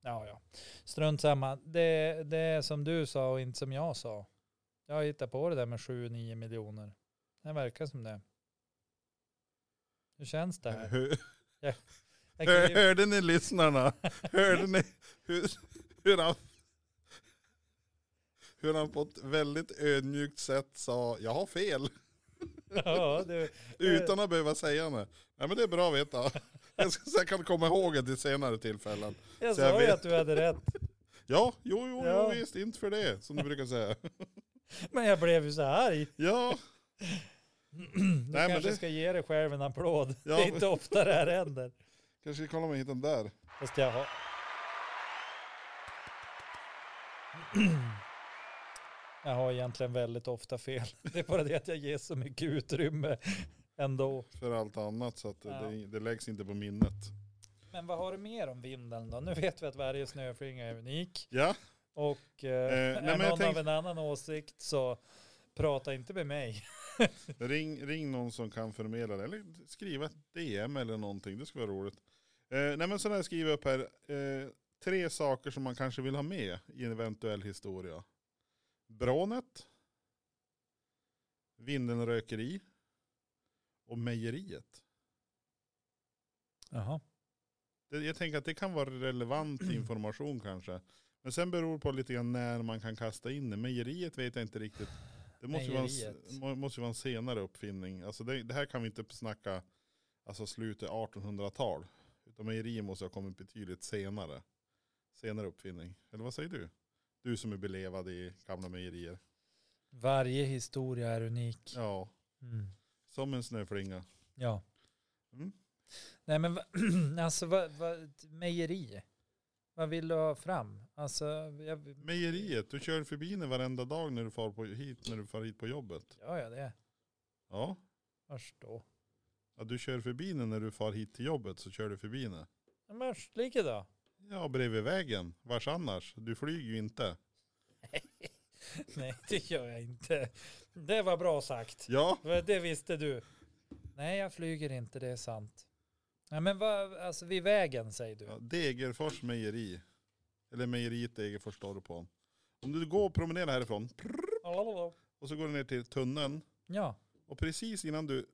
S1: Ja, ja. Strunt samma. Det, det är som du sa och inte som jag sa. Jag hittar på det där med 7-9 miljoner. Det verkar som det. Hur känns det här?
S2: Hur,
S1: Jag
S2: hör-
S1: kan ju- (laughs)
S2: hörde ni lyssnarna? Hörde ni hur, hur han hur han på ett väldigt ödmjukt sätt sa jag har fel
S1: Eh. ja, det,
S2: utan att behöva säga det. Nej men det är bra
S1: (laughs)
S2: att veta. Jag, ska, så jag kan komma ihåg det till senare tillfällen.
S1: jag
S2: Så jag
S1: sa ju
S2: vet.
S1: att du hade rätt.
S2: Ja, jo, jo,
S1: Ja.
S2: jo visst, inte för det som du brukar säga.
S1: Men jag blev ju så arg. (clears throat)
S2: Ja,
S1: Du
S2: men
S1: kanske
S2: det-
S1: ska ge dig själv en applåd.
S2: Ja,
S1: Det är
S2: men-
S1: inte ofta det här händer.
S2: kanske ska kolla om jag hittar den där.
S1: Fast jag har... Jag har egentligen väldigt ofta fel. (laughs) Det är bara det att jag ger så mycket utrymme ändå.
S2: För allt annat så att det-
S1: Ja.
S2: det, det läggs inte på minnet.
S1: Men vad har du mer om vinden då? Nu vet vi att varje snöflinga är unik.
S2: Ja,
S1: Och eh,
S2: nej,
S1: är
S2: men jag
S1: någon av
S2: tänkte-
S1: en annan åsikt så prata inte med mig.
S2: Ring, ring någon som kan förmedla det, eller skriva ett DM eller någonting, det skulle vara roligt. Eh, nej men sådär skriver jag upp här, eh, tre saker som man kanske vill ha med i en eventuell historia. Brånet, Vindelrökeri och mejeriet.
S1: Jaha.
S2: Det, jag tänker att det kan vara relevant information kanske. Men sen beror det på lite grann när man kan kasta in det. Mejeriet vet jag inte riktigt. Det måste ju vara en, s-
S1: Mejeriet.
S2: må- måste ju vara en senare uppfinning. Alltså det, det här kan vi inte snacka alltså slutet 1800-tal. Utan mejeriet måste ha kommit betydligt senare. Senare uppfinning. Eller vad säger du? Du som är belevad i gamla mejerier.
S1: Varje historia är unik.
S2: Ja,
S1: Mm.
S2: som en snöflinga.
S1: Ja.
S2: Mm.
S1: Nej men va- (clears throat) alltså vad, vad, mejeri. Vad vill du ha fram? Alltså, jag,
S2: Mejeriet, du kör förbi det varenda dag när du far på hit, när du far hit på jobbet.
S1: Ja, ja det.
S2: Ja.
S1: Vars då?
S2: Ja, du kör förbi den när du far hit till jobbet så kör du förbi den.
S1: Ja, Men lika då? (laughs)
S2: Ja, bredvid vägen. Vars annars? Du flyger ju inte.
S1: Nej, det gör jag inte. Det var bra sagt.
S2: Ja,
S1: För Det visste du. Nej, jag flyger inte, det är sant. Ja, men vad, alltså vid vägen säger du.
S2: ja Degerfors mejeri. Eller mejeriet Degerfors står det på. Om du går och promenerar härifrån prr, och så går du ner till tunneln
S1: Ja,
S2: och precis innan du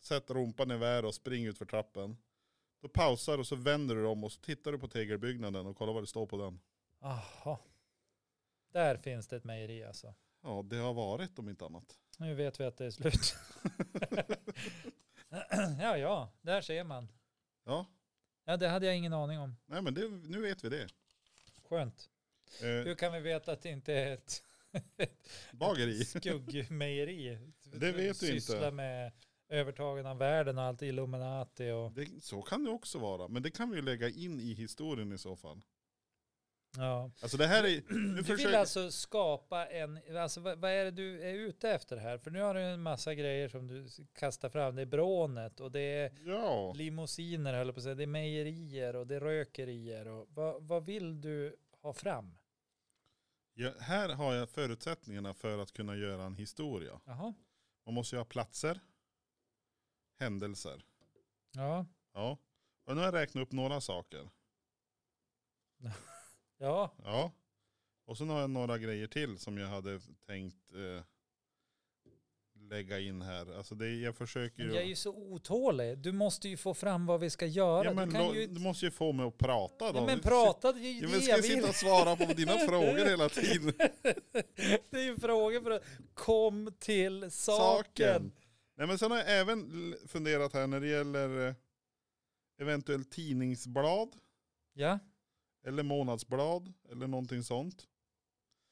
S2: sätter rumpan i vär och springer ut för trappen då pausar och så vänder du om och så tittar du på tegelbyggnaden och kollar vad det står på den.
S1: aha. Där finns det ett mejeri alltså.
S2: Ja, det har varit om inte annat.
S1: Nu vet vi att det är slut. (laughs) ja, ja, där ser man.
S2: Ja,
S1: Ja, det hade jag ingen aning om.
S2: nej men det, nu vet vi det.
S1: Skönt.
S2: Eh,
S1: Hur kan vi veta att det inte är
S2: (laughs)
S1: ett
S2: bageri.
S1: skuggmejeri?
S2: Det vet du inte.
S1: Syssla med övertagen av världen och allt Illuminati och...
S2: Det, så kan det också vara, men det kan vi ju lägga in i historien i så fall.
S1: Ja.
S2: Alltså det här är... Nu
S1: Du vill
S2: försöker,
S1: alltså skapa en, alltså vad, vad är det du är ute efter här? För nu har du en massa grejer som du s- kastar fram. Det är brånet och det är
S2: ja.
S1: limousiner höll jag på att säga. Det är mejerier och det är rökerier. Och vad, vad vill du ha fram?
S2: ja, här har jag förutsättningarna för att kunna göra en historia.
S1: Jaha.
S2: Man måste ju ha platser, händelser.
S1: Ja.
S2: Ja. Och nu har jag räknat upp några saker.
S1: Ja.
S2: Ja. Och sen har jag några grejer till som jag hade tänkt eh, lägga in här. Alltså det, jag försöker
S1: Men
S2: ju...
S1: jag är ju så otålig. Du måste ju få fram vad vi ska göra.
S2: ja, men,
S1: du kan
S2: lo-
S1: ju...
S2: du måste ju få mig att prata då.
S1: ja, men
S2: Du-
S1: prata, det är ju
S2: Ja,
S1: det
S2: men ska
S1: jag
S2: jag
S1: vill.
S2: sitta och svara på
S1: (laughs)
S2: dina frågor hela tiden?
S1: Det är ju frågor för att kom till saken.
S2: Saken. Nej men sen har jag även l- funderat här när det gäller eh, eventuellt tidningsblad
S1: Ja,
S2: eller månadsblad eller någonting sånt.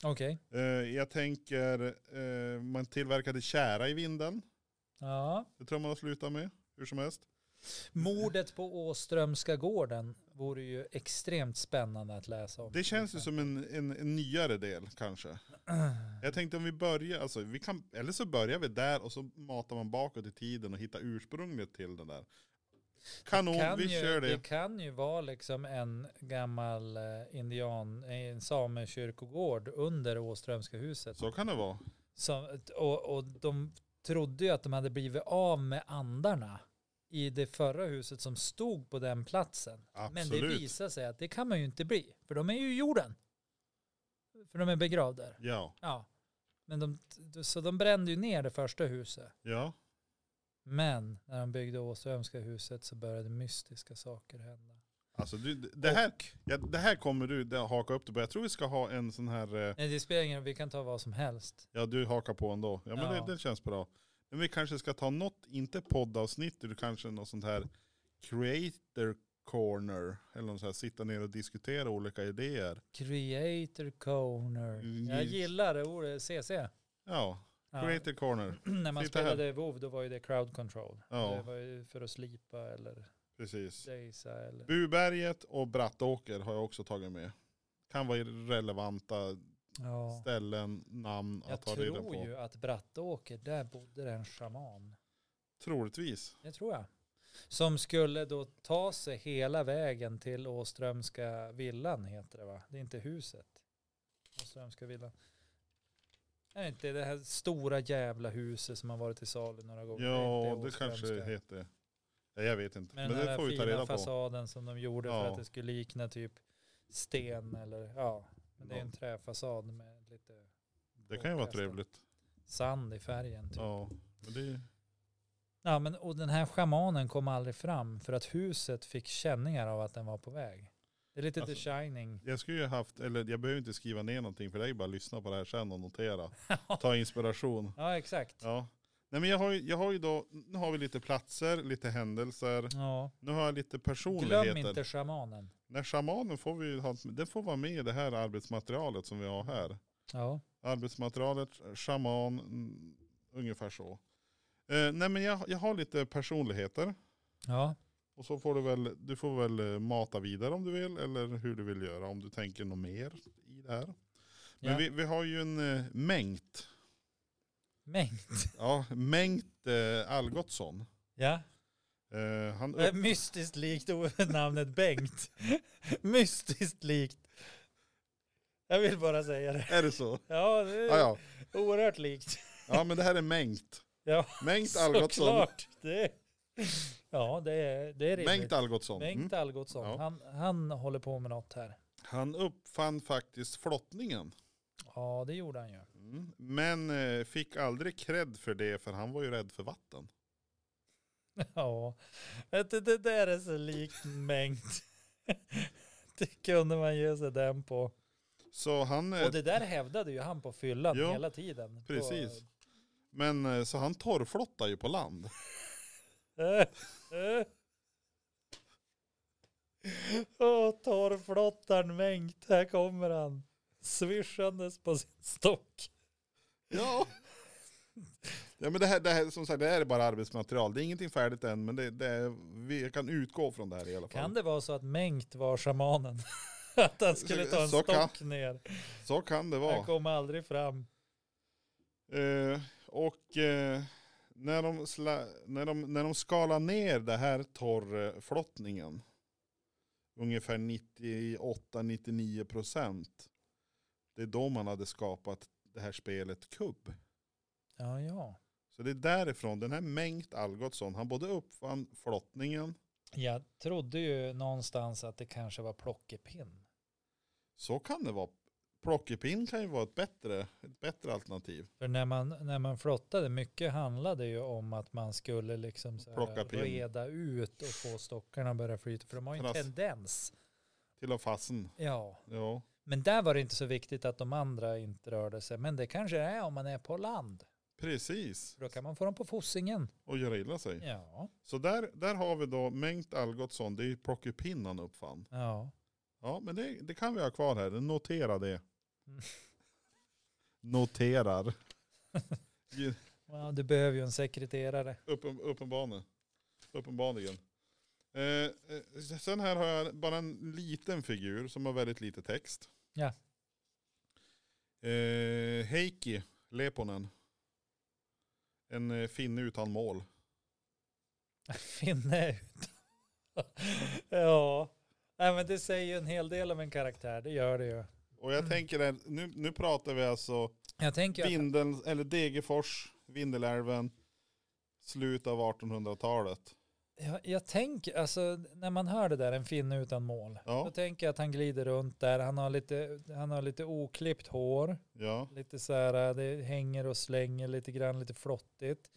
S1: okej.
S2: Eh, jag tänker, eh, man tillverkade kära i vinden.
S1: Ja.
S2: Det tror jag man har slutat med, hur som helst.
S1: Mordet på Åströmska gården vore ju extremt spännande att läsa om.
S2: Det känns ju som en, en, en nyare del kanske. Jag tänkte om vi börjar, alltså, vi kan, eller så börjar vi där och så matar man bakåt i tiden och hittar ursprunget till den där. Kanon,
S1: kan
S2: vi
S1: ju,
S2: kör det.
S1: Det kan ju vara liksom en gammal eh, indian, en samekyrkogård under Åströmska huset.
S2: Så kan det vara.
S1: Som, och, och de trodde ju att de hade blivit av med andarna i det förra huset som stod på den platsen.
S2: Absolut.
S1: Men det visar sig att det kan man ju inte bli, för de är ju i jorden. För de är begravda där.
S2: Ja,
S1: Ja. Men de, så de brände ju ner det första huset.
S2: ja.
S1: Men när de byggde Åströmska huset så började mystiska saker hända.
S2: Alltså du, det- det, här, ja, det här kommer du det- haka upp det på. Jag tror vi ska ha en sån här, eh,
S1: Nej, det spelar ingen roll, vi kan ta vad som helst.
S2: ja du hakar på ändå. Ja men
S1: Ja.
S2: Det, det känns bra. Men vi kanske ska ta något, inte poddavsnitt, utan kanske något sånt här creator corner. Eller något sånt här, sitta ner och diskutera olika idéer.
S1: Creator Corner.
S2: Mm.
S1: Jag gillar det ordet, CC.
S2: Ja,
S1: Ja.
S2: creator corner.
S1: när man
S2: Sitta Mm. här.
S1: spelade WoW då var ju det crowd control. Det
S2: Ja,
S1: var ju för att slipa eller
S2: precis.
S1: dejsa eller...
S2: Buberget och Brattåker har jag också tagit med. Kan vara relevanta
S1: Ja.
S2: ställen, namn
S1: Jag
S2: att ta reda
S1: tror
S2: på.
S1: ju att Brattåker, där bodde det en shaman.
S2: Troligtvis.
S1: Det tror jag. Som skulle då ta sig hela vägen till Åströmska villan heter det va? Det är inte huset. Åströmska villan. Är det inte det här stora jävla huset som har varit till salu några gånger?
S2: Ja,
S1: inte
S2: det kanske
S1: Åströmska.
S2: heter. Ja, jag vet inte.
S1: Med
S2: Men
S1: den
S2: det
S1: här
S2: får vi ta
S1: fina
S2: reda på.
S1: fasaden som de gjorde för
S2: Ja.
S1: att det skulle likna typ sten eller ja. Men det är en träfasad med lite
S2: Det kan ju vara
S1: bortkastad
S2: trevligt.
S1: Sand i färgen typ. Ja.
S2: Ja, men det,
S1: men och den här schamanen kom aldrig fram för att huset fick känningar av att den var på väg. Det är lite The
S2: Alltså-
S1: Shining.
S2: jag skulle ju haft, eller jag behöver inte skriva ner någonting för det är ju bara att lyssna på det här sen
S1: (laughs)
S2: och notera. Ta inspiration.
S1: ja exakt.
S2: Ja. Nej men jag har, ju, jag har ju då, nu har vi lite platser, lite händelser,
S1: Ja.
S2: nu har jag lite personligheter.
S1: Glöm inte schamanen.
S2: När shamanen får vi ju ha, den får vara med i det här arbetsmaterialet som vi har här.
S1: Ja.
S2: Arbetsmaterialet, shaman, mm, ungefär så. Eh, nej men jag, jag har lite personligheter.
S1: Ja.
S2: Och så får du väl, du får väl eh, mata vidare om du vill eller hur du vill göra om du tänker något mer i det här. Men
S1: Ja.
S2: vi, vi har ju en eh, mängd,
S1: Mängd. (laughs)
S2: ja mängd eh, Algotsson.
S1: Ja.
S2: Eh, han,
S1: Det är
S2: upp,
S1: Mystiskt likt o- (laughs) namnet Bengt. (laughs) Mystiskt likt. Jag vill bara säga det.
S2: är det så?
S1: Ja, det är
S2: Ja, ja.
S1: oerhört likt.
S2: ja men det här är mängd. (laughs)
S1: Ja,
S2: mängd Algotsson.
S1: Såklart. Det, ja, det är, det är
S2: Mängd
S1: rimligt.
S2: Algotsson. Mm.
S1: Bengt Algotsson.
S2: Ja.
S1: Han, han håller på med något här.
S2: Han uppfann faktiskt flottningen.
S1: Ja, det gjorde han ju. (laughs)
S2: Mm. Men eh, fick aldrig cred för det för han var ju rädd för vatten.
S1: Ja, vet du, det där är så likt Bengt. (laughs) Det kunde man ge sig den på.
S2: Så han, eh,
S1: Och det där hävdade ju han på fyllan
S2: Ja,
S1: hela tiden.
S2: precis. men, eh, så han torrflottar ju på land.
S1: På, äh, äh. Åh, torrflottarn Bengt, här kommer han. Svischandes på sin stock.
S2: Ja. (laughs) Ja men det här, det här, som sagt, det här är bara arbetsmaterial. Det är ingenting färdigt än men det, det är, vi kan utgå från det här i alla fall.
S1: Kan det vara så att Mengt var shamanen? (laughs) att han skulle ta en
S2: Så kan-
S1: stock ner.
S2: Så kan det
S1: Han
S2: vara.
S1: kom aldrig fram.
S2: Eh, och eh, när, de sla, när, de, när de skalar ner det här torrflottningen, ungefär 98-99 procent, det är då man hade skapat det här spelet kubb.
S1: Ja, ja.
S2: Så det är därifrån, den här Bengt Algotsson, han både uppfann flottningen,
S1: Jag trodde ju någonstans att det kanske var plockepinn.
S2: så kan det vara. Plockepinn kan ju vara ett bättre, ett bättre alternativ.
S1: För när man, när man flottade, mycket handlade ju om att man skulle liksom så
S2: Plocka
S1: här
S2: pinn.
S1: reda ut och få stockarna att börja flyta. För de har ju en
S2: Trass.
S1: tendens.
S2: Till och fasen,
S1: Ja.
S2: ja.
S1: Men där var det inte så viktigt att de andra inte rörde sig. Men det kanske är om man är på land.
S2: Precis,
S1: För då kan man få dem på fossingen.
S2: och göra illa sig.
S1: Ja.
S2: Så där, där har vi då Bengt Algotsson, det är ju plockepinn han uppfann.
S1: Ja.
S2: Ja, men det, det kan vi ha kvar här, notera det.
S1: Mm. (laughs)
S2: Noterar.
S1: ja du behöver ju en sekreterare.
S2: Uppen, uppenbarligen. Uppenbarligen. Eh, eh, sen här har jag bara en liten figur som har väldigt lite text.
S1: Ja.
S2: Eh, Heikki Leponen. En eh, finne utan mål.
S1: Finne ut. (laughs) ja. Nej, men det säger ju en hel del om en karaktär. Det gör det ju.
S2: Och jag
S1: Mm.
S2: tänker, att nu, nu pratar vi alltså
S1: Jag tänker att
S2: Vindel, eller Degerfors, Vindelälven, slut av 1800-talet.
S1: Jag, jag tänker, alltså när man hör det där, en finne utan mål, då
S2: Ja,
S1: tänker jag att han glider runt där, han har lite, han har lite oklippt hår,
S2: ja,
S1: lite så här, äh, det hänger och slänger lite grann, lite flottigt.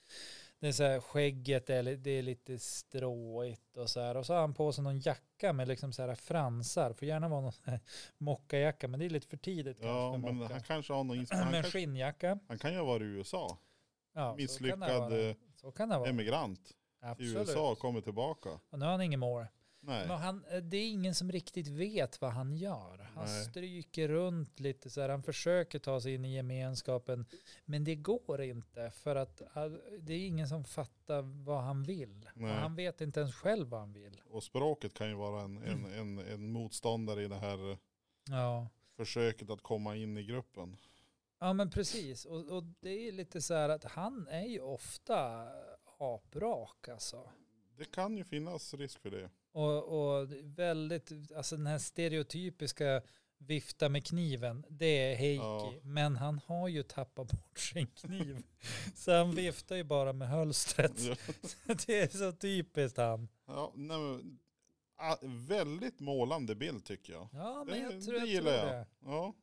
S1: Det är så här, skägget är, li- det är lite stråigt och så här, och så har han på sig någon jacka med liksom så här fransar, får gärna vara någon så här (laughs) mockajacka, men det är lite för tidigt
S2: ja
S1: kanske för
S2: men
S1: mocka. (clears throat)
S2: han kanske har någon inspiration.
S1: Men,
S2: Han, kanske-
S1: skinnjacka,
S2: han kan ju ha varit i USA.
S1: ja, så kan det
S2: Misslyckad
S1: vara.
S2: eh,
S1: Så kan det vara.
S2: emigrant i
S1: Absolut.
S2: USA och kommer tillbaka.
S1: Och nu har han inget mål.
S2: Nej,
S1: Men han, eh, det är ingen som riktigt vet vad han gör. Han
S2: Nej.
S1: stryker runt lite så här. Han försöker ta sig in i gemenskapen. Men det går inte för att eh, det är ingen som fattar vad han vill. Och
S2: Nej.
S1: han vet inte ens själv vad han vill.
S2: och språket kan ju vara en, en, en, en motståndare i det här eh,
S1: Ja,
S2: försöket att komma in i gruppen.
S1: ja men precis. Och, och det är lite så här att han är ju ofta aprak alltså.
S2: Det kan ju finnas risk
S1: (laughs)
S2: för det.
S1: Och, och väldigt, alltså den här stereotypiska vifta med kniven, det är Heikki.
S2: Ja.
S1: Men han har ju tappat bort sin kniv. så han
S2: (laughs)
S1: viftar ju bara med hölstret.
S2: Ja.
S1: (laughs) det är så typiskt han.
S2: Ja, nej, men, ah, väldigt målande bild tycker jag.
S1: Ja, men
S2: Det-
S1: jag tror,
S2: det
S1: jag
S2: gillar
S1: tror
S2: jag.
S1: det.
S2: Ja,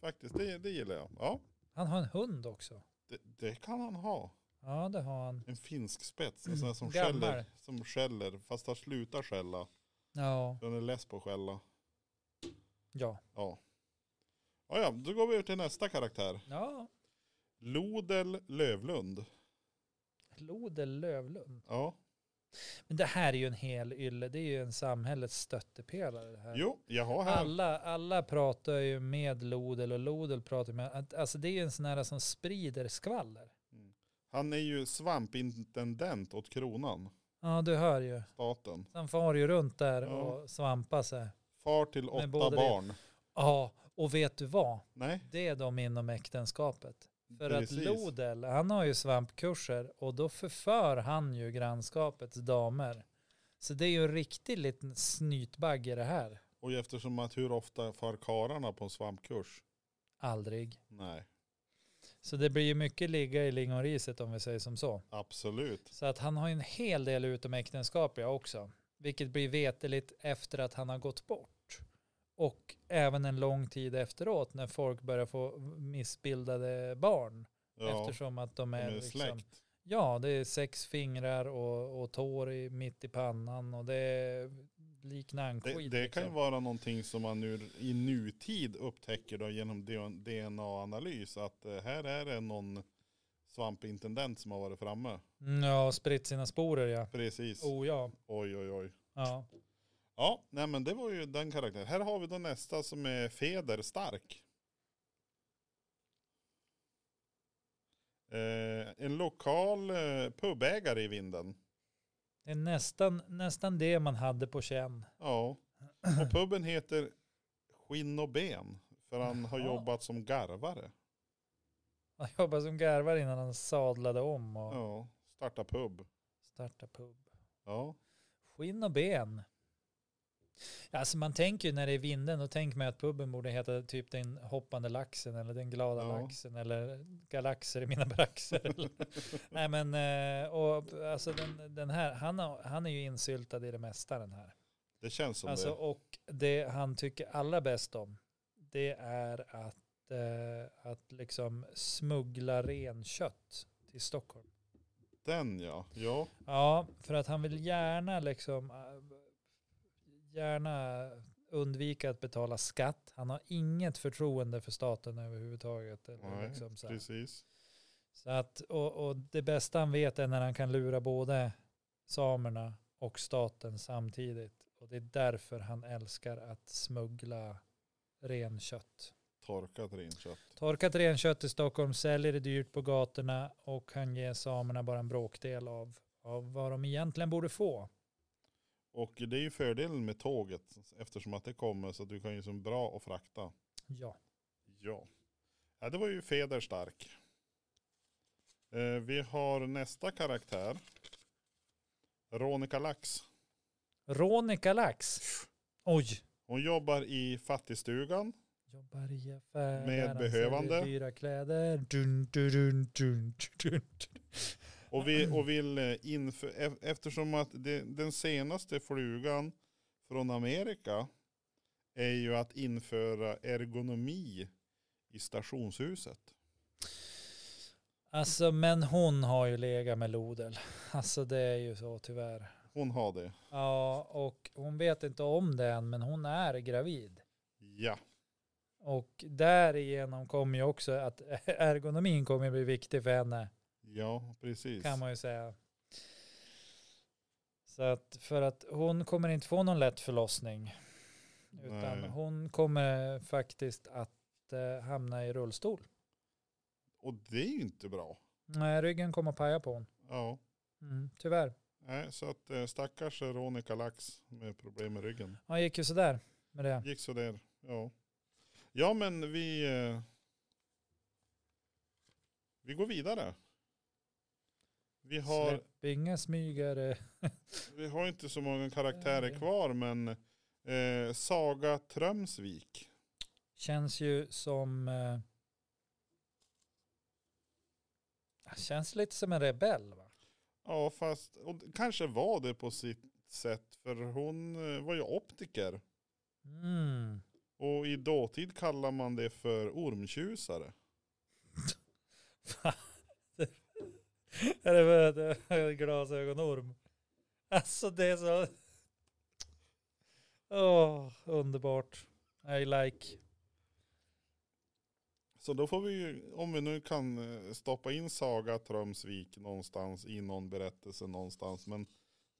S2: faktiskt. Det, det gillar jag. Ja,
S1: Han har en hund också.
S2: det, det kan han ha.
S1: Ja, det har han.
S2: En finsk spets. En sån här som
S1: Gammal.
S2: skäller. Som skäller. Fast han slutar skälla.
S1: Ja,
S2: Den är less på att skälla.
S1: ja.
S2: Ja. Ja, ja, då går vi över till nästa karaktär.
S1: ja.
S2: Lodel Lövlund.
S1: Lodel Lövlund.
S2: Ja.
S1: Men det här är ju en hel ylle. Det är ju en samhällets stöttepelare. Det här.
S2: Jo, jag har här.
S1: Alla, alla pratar ju med Lodel och Lodel pratar med, att- alltså det är ju en sån här som sprider skvaller.
S2: Han är ju svampintendent åt kronan.
S1: Ja, du hör ju.
S2: Staten.
S1: Han far ju runt där
S2: Ja.
S1: och svampar sig.
S2: Far till åtta
S1: både det-
S2: barn.
S1: Ja, och vet du vad?
S2: Nej,
S1: Det är de inom äktenskapet. För
S2: Precis.
S1: att Lodel, han har ju svampkurser och då förför han ju grannskapets damer. Så det är ju en riktig liten snytbagge det här.
S2: och eftersom att hur ofta far kararna på en svampkurs?
S1: Aldrig.
S2: Nej,
S1: Så det blir ju mycket ligga i lingonriset om vi säger som så.
S2: absolut.
S1: Så att han har ju en hel del utomäktenskapliga också. Vilket blir veteligt efter att han har gått bort. Och även en lång tid efteråt när folk börjar få missbildade barn.
S2: Ja,
S1: Eftersom att de
S2: de
S1: är,
S2: är
S1: liksom,
S2: släkt.
S1: Ja, det är sex fingrar och, och tår i, mitt i pannan. Och det är
S2: Det,
S1: liknande liksom.
S2: det kan ju vara någonting som man nu i nutid upptäcker då genom DNA-analys att eh, här är det någon svampintendent som har varit framme.
S1: Mm, Ja, och spritt sina sporer ja.
S2: Precis.
S1: Oh ja.
S2: Oj oj oj.
S1: ja.
S2: Ja, nej men det var ju den karaktären. Här har vi då nästa som är Feder Stark. Eh, en lokal eh, pubägare i vinden.
S1: Det är nästan, nästan det man hade på känn.
S2: Ja, och puben heter skinn och ben. För han har
S1: Jaha.
S2: jobbat som garvare.
S1: Han jobbade som garvare innan han sadlade om och
S2: Ja, starta pub.
S1: startade pub.
S2: Ja,
S1: Skinn och ben. Alltså man tänker ju när det är vinden, då tänker man att puben borde heta typ den hoppande laxen eller den glada
S2: Ja.
S1: laxen eller galaxer i mina
S2: (laughs)
S1: braxer. Nej men, eh, och alltså den, den här, han, har, han är ju insyltad i det mesta den här.
S2: det känns som
S1: Alltså,
S2: det.
S1: och det han tycker allra bäst om, det är att, eh, att liksom smuggla renkött till Stockholm.
S2: Den ja. Ja,
S1: Ja, för att han vill gärna liksom, eh, gärna undvika att betala skatt. Han har inget förtroende för staten överhuvudtaget. Eller
S2: Nej,
S1: liksom så här.
S2: precis.
S1: Så att, och, och det bästa han vet är när han kan lura både samerna och staten samtidigt. Och det är därför han älskar att smuggla renkött.
S2: Torkat renkött.
S1: Torkat renkött i Stockholm, säljer det dyrt på gatorna och han ger samerna bara en bråkdel av, av vad de egentligen borde få.
S2: Och det är ju fördelen med tåget eftersom att det kommer så att du kan ju som bra och frakta.
S1: Ja,
S2: Ja. ja, det var ju Federstark. Eh, vi har nästa karaktär. Ronika Lax.
S1: Ronika Lax. Oj,
S2: Hon jobbar i fattigstugan.
S1: jobbar i affären.
S2: Med
S1: han säljer
S2: behövande.
S1: Dyra kläder. Dun, dun, dun, dun, dun, dun.
S2: Och vill, och vill eh, inför, e- eftersom att det, den senaste flugan från Amerika är ju att införa ergonomi i stationshuset.
S1: Alltså men hon har ju legat med lodel. Alltså det är ju så tyvärr.
S2: Hon har det.
S1: Ja och hon vet inte om det än men hon är gravid.
S2: Ja,
S1: Och därigenom kommer ju också att (laughs) ergonomin kommer bli viktig för henne
S2: ja precis.
S1: kan man ju säga. Så att för att hon kommer inte få någon lätt förlossning. Utan
S2: Nej.
S1: hon kommer faktiskt att eh, hamna i rullstol.
S2: Och det är ju inte bra.
S1: Nej, ryggen kommer paja på hon.
S2: Ja.
S1: Mm, tyvärr.
S2: Nej, så att eh, stackars Veronica Lax med problem med ryggen.
S1: Han gick ju sådär med det.
S2: Gick sådär. Ja. Ja men vi. Eh, vi går vidare. Vi har,
S1: Släpp inga smygare.
S2: vi har inte så många karaktärer kvar men eh, Saga Trömsvik.
S1: Känns ju som... Eh, känns lite som en rebell va?
S2: Ja fast och det kanske var det på sitt sätt för hon eh, var ju optiker.
S1: Mm.
S2: Och i dåtid kallar man det för ormtjusare.
S1: Är det för att jag har en glasögonorm? Alltså det är så... Åh, underbart. I like.
S2: Så då får vi ju, om vi nu kan eh, stoppa in Saga Trömsvik någonstans i någon berättelse någonstans. Men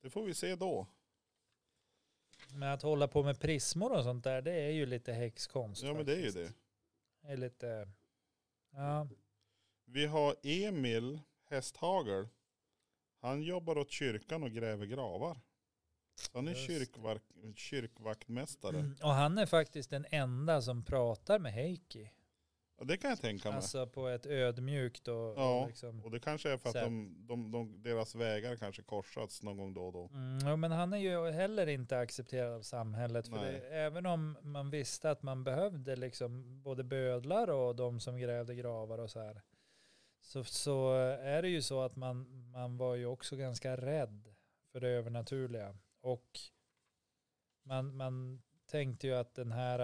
S2: det får vi se då.
S1: Men att hålla på med prismor och sånt där, det är ju lite häxkonst.
S2: Ja men det är ju
S1: faktiskt.
S2: det.
S1: Det är lite... Ja,
S2: Vi har Emil Hästhagel. Han jobbar åt kyrkan och gräver gravar. Så han är
S1: Just det.
S2: kyrkvark, kyrkvaktmästare.
S1: Mm, Och han är faktiskt den enda som pratar med Heikki.
S2: Ja, det kan jag tänka mig.
S1: Alltså på ett ödmjukt och,
S2: Ja.
S1: och liksom.
S2: Och det kanske är för att
S1: Så här.
S2: de, de, de, deras vägar kanske korsats någon gång då och då.
S1: Mm, ja, men han är ju heller inte accepterad av samhället. För
S2: Nej.
S1: det, även om man visste att man behövde liksom både bödlar och de som grävde gravar och så här. Så, så är det ju så att man, man var ju också ganska rädd för det övernaturliga. Och man, man tänkte ju att den här,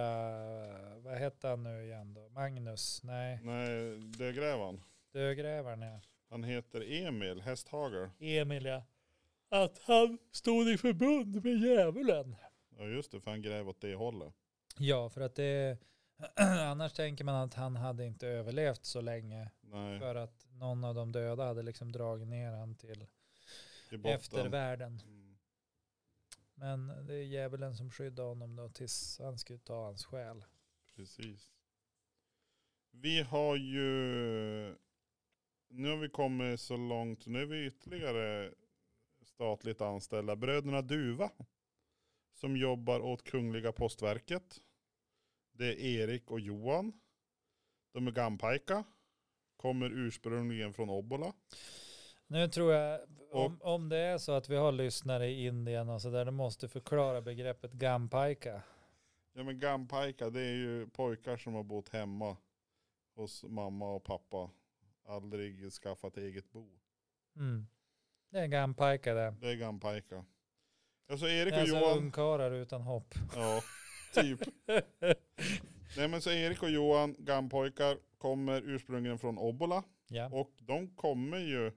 S1: äh, vad hette han nu igen då? Magnus? Nej,
S2: Nej, dödgrävaren.
S1: dögrävaren ja.
S2: Han heter Emil Hästhagel.
S1: Emilia att han stod i förbund med djävulen.
S2: Ja just det, för han gräver åt det hållet.
S1: Ja, för att det (clears throat) annars tänker man att han hade inte överlevt så länge
S2: Nej,
S1: för att någon av de döda hade liksom dragit ner han till
S2: i botten.
S1: eftervärlden.
S2: Mm.
S1: Men det är djävulen som skyddar honom då tills han skulle ta hans själ.
S2: Precis. Vi har ju, nu har vi kommit så långt, nu är vi ytterligare statligt anställda. Bröderna Duva som jobbar åt Kungliga Postverket. Det är Erik och Johan. De är gampaika. Kommer ursprungligen från Obbola.
S1: Nu tror jag, om, om det är så att vi har lyssnare i Indien och sådär, då måste förklara begreppet gampaika.
S2: Ja men gampaika det är ju pojkar som har bott hemma hos mamma och pappa. Aldrig skaffat eget bo.
S1: Mm. Det är en gampaika det.
S2: Det är gampaika. Alltså
S1: Det
S2: Erik
S1: är
S2: och
S1: alltså
S2: Johan.
S1: ungkarlar utan hopp.
S2: (laughs) Ja, typ. Nej men så Erik och Johan, gampojkar, kommer ursprungligen från Obbola.
S1: ja.
S2: Och de kommer ju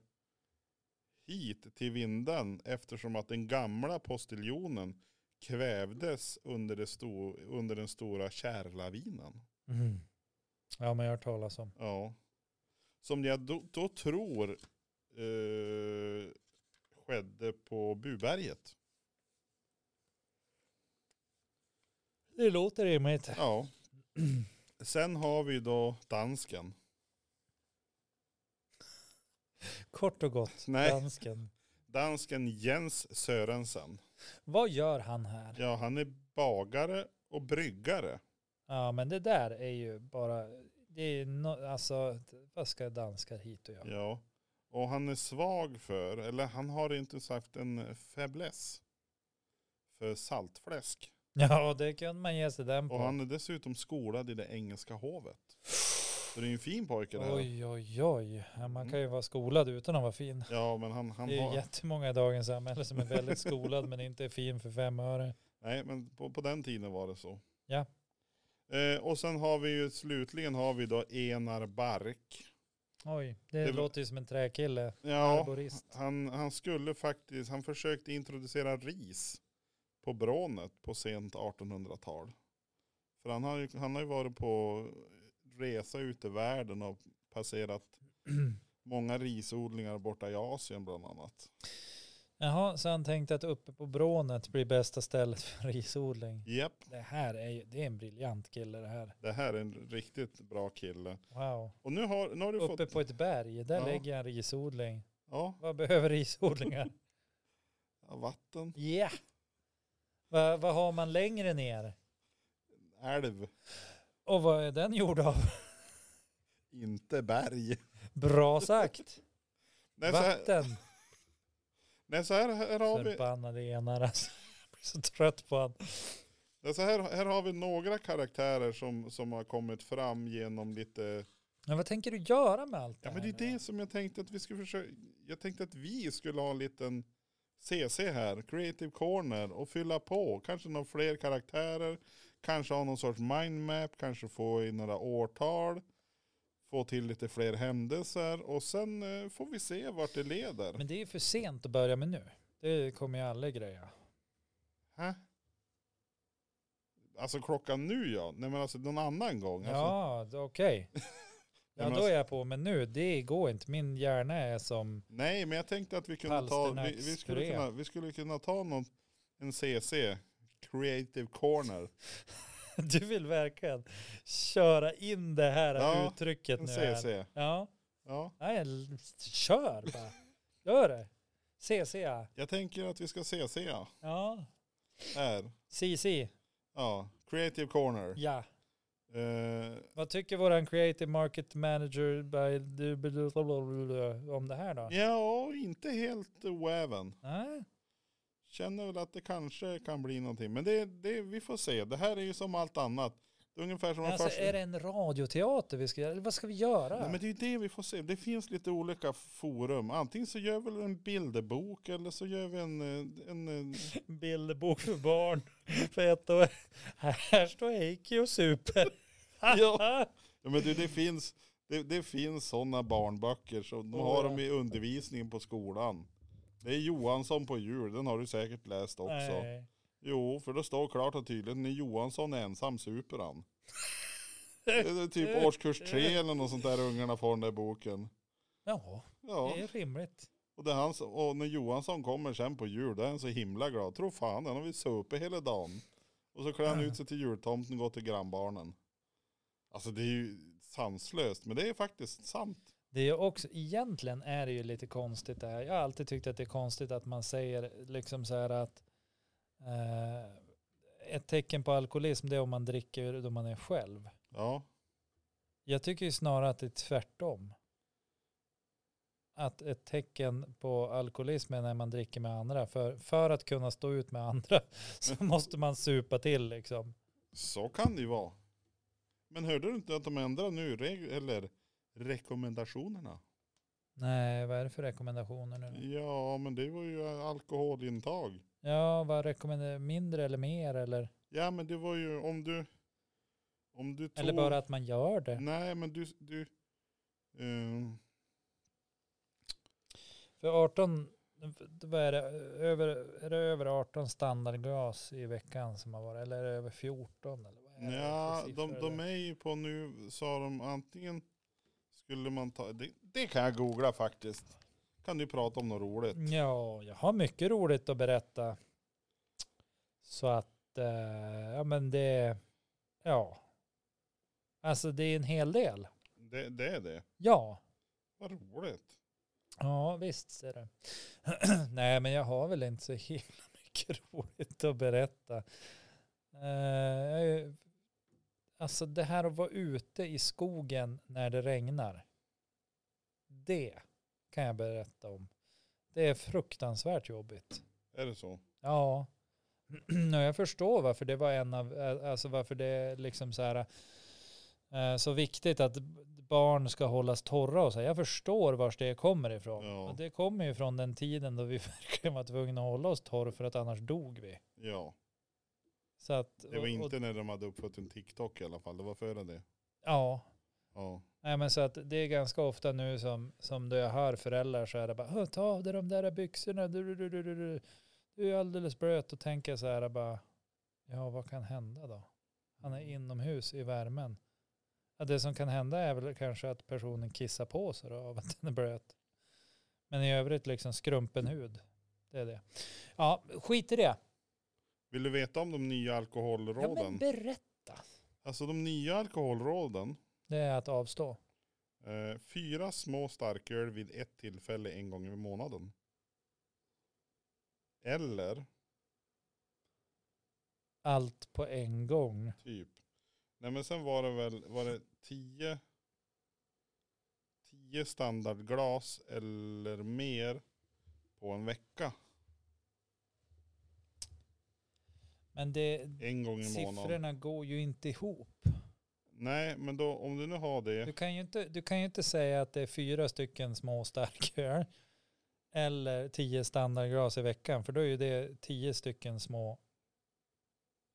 S2: hit till vinden eftersom att den gamla postiljonen kvävdes under, det sto, under den stora kärlavinen.
S1: Mm. ja, men jag har hört talas om.
S2: Ja. Som jag då, då tror eh, skedde på Buberget.
S1: Det låter rimligt.
S2: Ja. Sen har vi då dansken.
S1: Kort och gott,
S2: Nej.
S1: dansken.
S2: Dansken Jens Sörensen.
S1: Vad gör han här?
S2: Ja, han är bagare och bryggare.
S1: Ja, men det där är ju bara, det är ju no, alltså, vad ska danskar hit och göra?
S2: Ja. Och han är svag för, eller han har inte sagt en fäbless för saltfläsk.
S1: (laughs) Ja, det kan man ge sig den på.
S2: Och
S1: (sighs)
S2: han är dessutom skolad i det engelska hovet. Så det är ju en fin pojke det här.
S1: Oj, oj, oj. Ja, man kan ju vara skolad utan att vara fin.
S2: Ja men han, han
S1: Det är ju
S2: har,
S1: jättemånga i dagens samhälle som är väldigt skolad men inte är fin för fem öre.
S2: nej men på, på den tiden var det så.
S1: Ja.
S2: Eh, och sen har vi ju slutligen har vi då Enar Bark.
S1: Oj, det,
S2: Det var-
S1: låter ju som en träkille.
S2: Ja,
S1: Arborist.
S2: han, han skulle faktiskt, han försökte introducera ris på brånet på sent 1800-tal. För han har, ju, han har ju varit på resa ute i världen och passerat
S1: (clears throat)
S2: många risodlingar borta i Asien bland annat.
S1: Jaha, så han tänkte att uppe på brånet blir bästa stället för risodling.
S2: Japp,
S1: Det här är ju, det är en briljant kille det här.
S2: det här är en riktigt bra kille.
S1: Wow.
S2: Och nu har, nu har du
S1: Uppe
S2: fått...
S1: på ett berg, där
S2: Ja.
S1: lägger jag en risodling.
S2: Ja,
S1: Vad behöver
S2: (laughs)
S1: risodlingar?
S2: vatten,
S1: Ja! Vad vad har man längre ner?
S2: älv,
S1: Och vad är den gjord av?
S2: inte berg.
S1: Bra
S2: (laughs)
S1: sagt!
S2: Nej, så här, (laughs)
S1: Vatten!
S2: nej, så här, här har vi...
S1: Förbannade enar alltså. Jag blir så trött på honom.
S2: Alltså här, här har vi några karaktärer som, som har kommit fram genom lite...
S1: Men vad tänker du göra med allt det
S2: Ja men det
S1: här
S2: är
S1: nu
S2: det som jag tänkte att vi skulle försöka... Jag tänkte att vi skulle ha en liten CC här, Creative Corner, och fylla på. Kanske några fler karaktärer, kanske ha någon sorts mindmap, kanske få in några årtal, få till lite fler händelser och sen eh, får vi se vart det
S1: då?
S2: leder.
S1: Men det är ju för sent att börja med nu. Det kommer ju aldrig greja.
S2: Hä? Alltså klockan nu ja, nej men alltså någon annan gång. Alltså,
S1: Ja, det- okej. Ja,
S2: (laughs) men
S1: då är jag på, men nu, det går inte. Min hjärna är som... (laughs)
S2: Nej, men jag tänkte att vi kunde ta, vi, vi skulle
S1: Palsternackspuré.
S2: kunna, vi skulle kunna ta någon, en CC, Creative Corner,
S1: Du vill verkligen köra in det här
S2: Ja,
S1: uttrycket
S2: en
S1: nu. här.
S2: CC.
S1: Ja,
S2: Ja.
S1: nej, l- kör bara. (laughs) Gör det. CC, ja.
S2: Jag tänker att vi ska CC ja.
S1: Ja,
S2: här.
S1: CC,
S2: Ja, Creative Corner.
S1: ja.
S2: Eh,
S1: Vad tycker våran creative market manager by du- blablabla om det här då?
S2: ja, inte helt oäven.
S1: Nej,
S2: Känner väl att det kanske kan bli någonting. Men det, det, vi får se. Det här är ju som allt annat. Det är ungefär som de
S1: Alltså
S2: första.
S1: är det en radioteater vi ska göra? Eller Vad ska vi göra?
S2: Nej, men det är ju det vi får se. Det finns lite olika forum. Antingen så gör vi en bilderbok eller så gör vi en, eh, en, en
S1: Bilderbok för barn (laughs) för ett år. Här står Heikki och super. (laughs) ja.
S2: Ja, men du, det finns, det, det finns sådana barnböcker. Så de har dem i undervisningen på skolan. Det är Johansson på jul, den har du säkert läst också.
S1: Nej.
S2: Jo, för det står klart och tydligt, när Johansson är ensam
S1: (laughs)
S2: super han. Det är typ årskurs tre eller något sånt där ungarna får den där boken.
S1: Ja,
S2: Ja,
S1: det är rimligt.
S2: och, det är hans, och när Johansson kommer sen på jul, då är han så himla glad. Tro fan, han har vi supit hela dagen. Och så klär han ut sig till jultomten och går till grannbarnen. Alltså det är ju sanslöst, men det är faktiskt sant.
S1: Det är också, egentligen är det ju lite konstigt det här. Jag har alltid tyckt att det är konstigt att man säger liksom så här att eh, ett tecken på alkoholism det är om man dricker då man är själv.
S2: Ja,
S1: Jag tycker ju snarare att det är tvärtom. Att ett tecken på alkoholism är när man dricker med andra. För, för att kunna stå ut med andra (laughs) så måste man supa till liksom.
S2: så kan det ju vara. Men hörde du inte att de ändrar nu reg- eller rekommendationerna?
S1: Nej, vad är det för rekommendationer nu? då?
S2: Ja, men det var ju alkoholintag.
S1: Ja, vad rekommenderar Mindre eller mer eller?
S2: Ja, men det var ju om du... Om du tog...
S1: Eller bara att man gör det.
S2: Nej, men du... du eh,
S1: För 18, vad är det, över, är det över 18 standardglas i veckan som har varit? Eller är det över 14? Eller vad är det
S2: ja,
S1: för siffror
S2: de, de
S1: där?
S2: är ju på nu, sa de antingen skulle man ta... Det, det kan jag googla faktiskt. Kan du prata om något roligt?
S1: Ja, jag har mycket roligt att berätta. Så att, eh, ja men det, ja. Alltså det är en hel del.
S2: Det, det är det.
S1: Ja,
S2: Vad roligt.
S1: ja visst ser du. (clears throat) Nej men jag har väl inte så himla mycket (laughs) roligt att berätta. Eh, jag är ju- alltså det här att vara ute i skogen när det regnar. Det kan jag berätta om. Det är fruktansvärt jobbigt.
S2: Är det så?
S1: Ja, (clears throat) och jag förstår varför det var en av, eh, alltså varför det är liksom så här eh, så viktigt att b- barn ska hållas torra och så. här. Jag förstår vars det kommer ifrån.
S2: Ja.
S1: Och Det kommer ju från den tiden då vi (laughs) verkligen var tvungna att hålla oss torr för att annars dog vi.
S2: Ja.
S1: Så att,
S2: Det var
S1: och- och,
S2: inte när de hade uppfört en TikTok i alla fall. Det var före det.
S1: ja,
S2: Ja.
S1: Nej, men så att det är ganska ofta nu som, som då jag hör föräldrar så är det bara, "Åh, ta av dig de där byxorna, du, du, du, du, du. du är alldeles blöt och tänker så här bara, ja vad kan hända då? Han är inomhus i värmen. Ja, det som kan hända är väl kanske att personen kissar på sig då, av att den är blöt. Men i övrigt liksom skrumpen hud. Det är det. Ja, skit i det.
S2: Vill du veta om de nya
S1: Ja, men
S2: alkoholråden?
S1: berätta.
S2: Alltså de nya alkoholråden.
S1: Det är att avstå.
S2: Eh, fyra små starköl vid ett tillfälle en gång i månaden. Eller
S1: Allt på en gång.
S2: typ. Nej men sen var det väl, var det tio, tio standardglas eller mer på en vecka.
S1: Men det,
S2: En gång i månaden.
S1: siffrorna går ju inte ihop.
S2: Nej men då om du nu har det.
S1: Du kan ju inte, du kan ju inte säga att det är fyra stycken små starköl eller tio standardglas i veckan, för då är ju det tio stycken små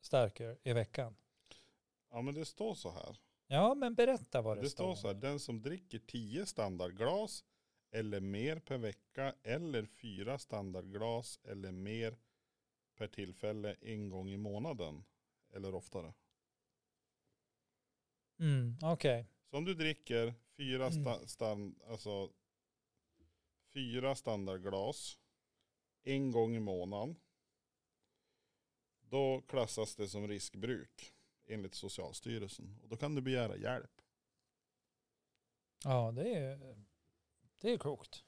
S1: starköl i veckan.
S2: Ja men det står så här.
S1: Ja, men berätta vad det,
S2: Det står så här, den som dricker 10 standardglas eller mer per vecka eller fyra standardglas eller mer per tillfälle en gång i månaden eller oftare.
S1: Mm, Okej,
S2: Så om du dricker fyra,
S1: Mm.
S2: sta- stan- alltså, fyra standardglas en gång i månaden då klassas det som riskbruk enligt Socialstyrelsen. Och då kan du begära hjälp.
S1: ja det är, det är klokt.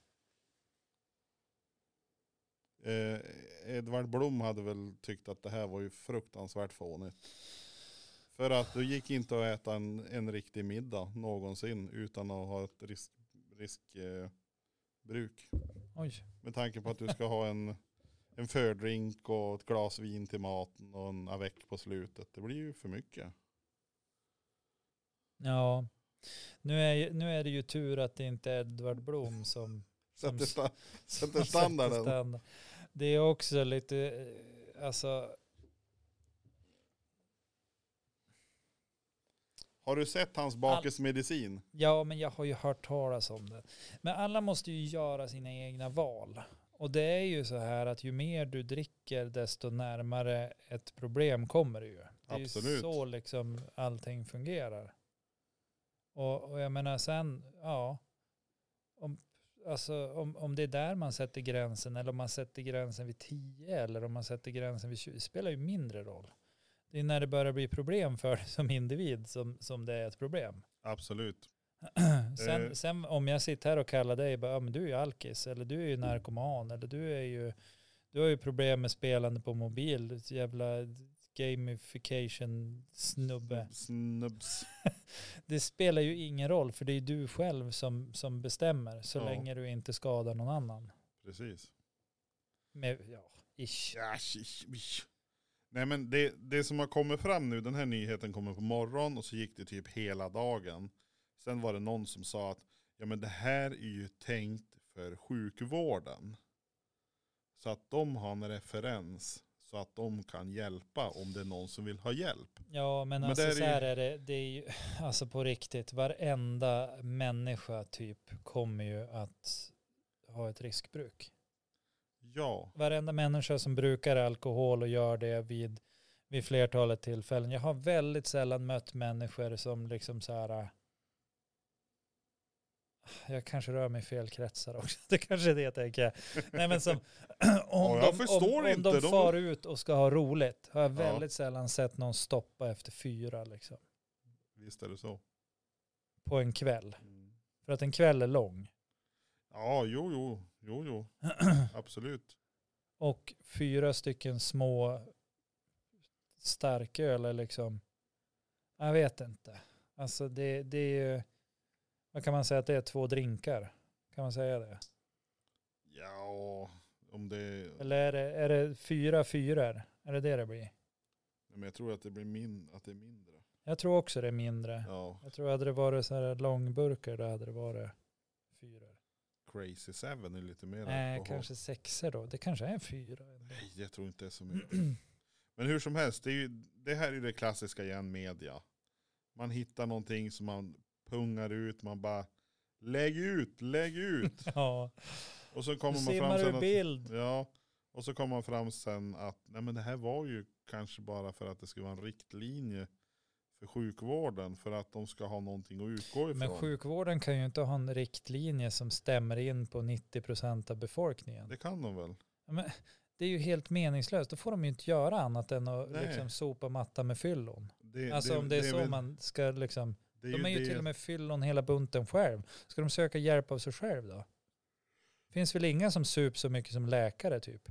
S2: Eh, Edvard Blom hade väl tyckt att det här var ju fruktansvärt fånigt. För att det gick inte att äta en, en riktig middag någonsin utan att ha ett riskbruk. Risk, eh, bruk.
S1: Oj,
S2: Med tanke på att du ska ha en, en fördrink och ett glas vin till maten och en avec på slutet. Det blir ju för mycket.
S1: ja. Nu är, ju- nu är det ju tur att det inte är Edvard Blom som
S2: Sätter, sta-
S1: (laughs) som
S2: (laughs) Sätter standarden.
S1: sätter standard. Det är också lite, eh, alltså,
S2: har du sett hans bakismedicin?
S1: ja men jag har ju hört talas om det. Men alla måste ju göra sina egna val. Och det är ju så här att ju mer du dricker desto närmare ett problem kommer du ju. Det är ju
S2: Absolut.
S1: så liksom allting fungerar. Och, och jag menar sen, ja, om, alltså, om, om det är där man sätter gränsen eller om man sätter gränsen vid 10 eller om man sätter gränsen vid 20, det spelar ju mindre roll. Det är när det börjar bli problem för (laughs) dig som individ som, som det är ett problem.
S2: Absolut.
S1: sen,
S2: Eh.
S1: sen om jag sitter här och kallar dig, bara, ja, men du är ju alkis eller du är
S2: Mm.
S1: ju narkoman eller du är ju du har ju problem med spelande på mobil, jävla
S2: Eh,
S1: gamification-snubbe.
S2: Mm. Snubbs.
S1: Det spelar ju ingen roll för det är du själv som, som bestämmer så
S2: Ja.
S1: länge du inte skadar någon annan.
S2: Precis.
S1: Med, ja, ish.
S2: Ja, shish, bish. Nej men det, det som har kommit fram nu, den här nyheten kommer på morgonen och så gick det typ hela dagen. Sen var det någon som sa att ja men det här är ju tänkt för sjukvården. Så att de har en referens så att de kan hjälpa om det är någon som vill ha hjälp.
S1: Ja, men,
S2: Men
S1: alltså
S2: det är
S1: så
S2: ju-
S1: här är det. Det är ju, (laughs) alltså på riktigt, varenda människa typ kommer ju att ha ett riskbruk.
S2: Ja,
S1: Varenda människa som brukar alkohol och gör det vid, vid flertalet tillfällen. Jag har väldigt sällan mött människor som liksom så här, äh, jag kanske rör mig i fel kretsar också. (laughs) Det kanske är det jag tänker. Nej men som, (clears throat) om,
S2: Ja, jag
S1: de,
S2: förstår
S1: om, om de
S2: inte, de-
S1: far ut och ska ha roligt har jag
S2: Ja.
S1: väldigt sällan sett någon stoppa efter fyra liksom.
S2: visst är det så.
S1: på en kväll. För att en kväll är lång.
S2: Ja, jo, jo, jo, jo, absolut.
S1: Och fyra stycken små starköl är liksom, jag vet inte. Alltså det, det är ju, vad kan man säga att det är, två drinkar? Kan man säga det?
S2: Ja, om det...
S1: Eller är det, är det fyra fyror? Är det det det blir?
S2: Men jag tror att det blir min, att det är mindre.
S1: Jag tror också det är mindre.
S2: Ja,
S1: Jag tror hade det varit så här långburkar då hade det varit fyror.
S2: Crazy Seven är lite mer
S1: Nej,
S2: alkohol.
S1: Eh, kanske sexor då. Det kanske är
S2: (laughs)
S1: fyra. ändå.
S2: Nej, jag tror inte det är så mycket. (clears throat) Men hur som helst, det, är ju, det här är ju det klassiska igen media. Man hittar någonting som man pungar ut, man bara lägg ut,
S1: (laughs)
S2: lägg ut.
S1: Ja,
S2: Och så
S1: nu
S2: kommer man fram
S1: simmar
S2: sen
S1: ur
S2: att,
S1: bild.
S2: ja, och så kommer man fram sen att nej men det här var ju kanske bara för att det skulle vara en riktlinje för sjukvården för att de ska ha någonting att utgå ifrån.
S1: Men sjukvården kan ju inte ha en riktlinje som stämmer in på 90% av befolkningen.
S2: Det kan de väl?
S1: Ja, Men det är ju helt meningslöst. Då får de ju inte göra annat än att
S2: Nej.
S1: liksom sopa mattan med fyllon.
S2: Det,
S1: Alltså om det är så
S2: väl-
S1: man ska liksom.
S2: det
S1: De är ju
S2: det-
S1: till och med fyllon hela bunten själv. Ska de söka hjälp av sig själv då? Finns väl inga som sup så mycket som läkare typ?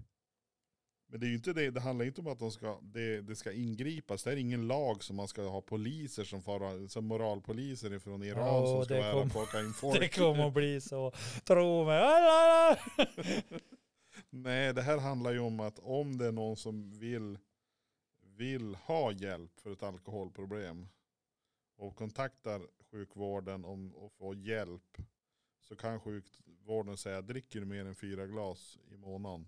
S2: Men det är ju inte det, det handlar inte om att de ska, det, det ska ingripas. Det är ingen lag som man ska ha poliser som far, som moralpoliser ifrån Iran
S1: Ja,
S2: som ska
S1: det
S2: vara här
S1: kom-
S2: och plocka in
S1: (laughs)
S2: folk.
S1: Det kommer att bli så. Tro mig. Ah, ah, ah.
S2: (laughs) Nej, det här handlar ju om att om det är någon som vill, vill ha hjälp för ett alkoholproblem och kontaktar sjukvården om, och får hjälp så kan sjukvården säga dricker du mer än fyra glas i månaden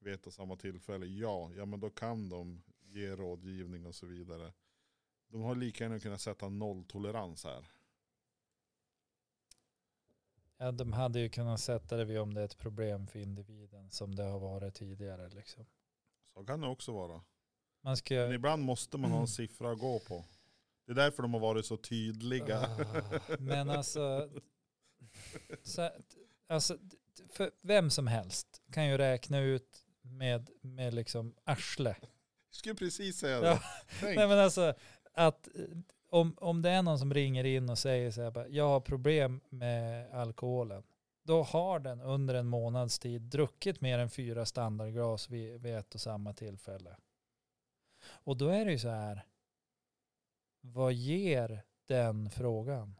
S2: vid ett och samma tillfälle, ja, ja men då kan de ge rådgivning och så vidare. De har lika gärna kunnat sätta nolltolerans här.
S1: Ja, de hade ju kunnat sätta det vid om det är ett problem för individen som det har varit tidigare liksom.
S2: Så kan det också vara.
S1: Man ska
S2: Men ibland måste
S1: Mm.
S2: man ha en siffra att gå på. Det är därför de har varit så tydliga.
S1: Ah, Men alltså, så, att- alltså, för vem som helst kan ju räkna ut med, med liksom arsle.
S2: Jag skulle precis säga
S1: Ja.
S2: det. Tänk.
S1: Nej men alltså, att eh, om, om det är någon som ringer in och säger så här, bara, jag har problem med alkoholen. Då har den under en månads tid druckit mer än fyra standardglas vid, vid ett och samma tillfälle. Och då är det ju så här, vad ger den frågan?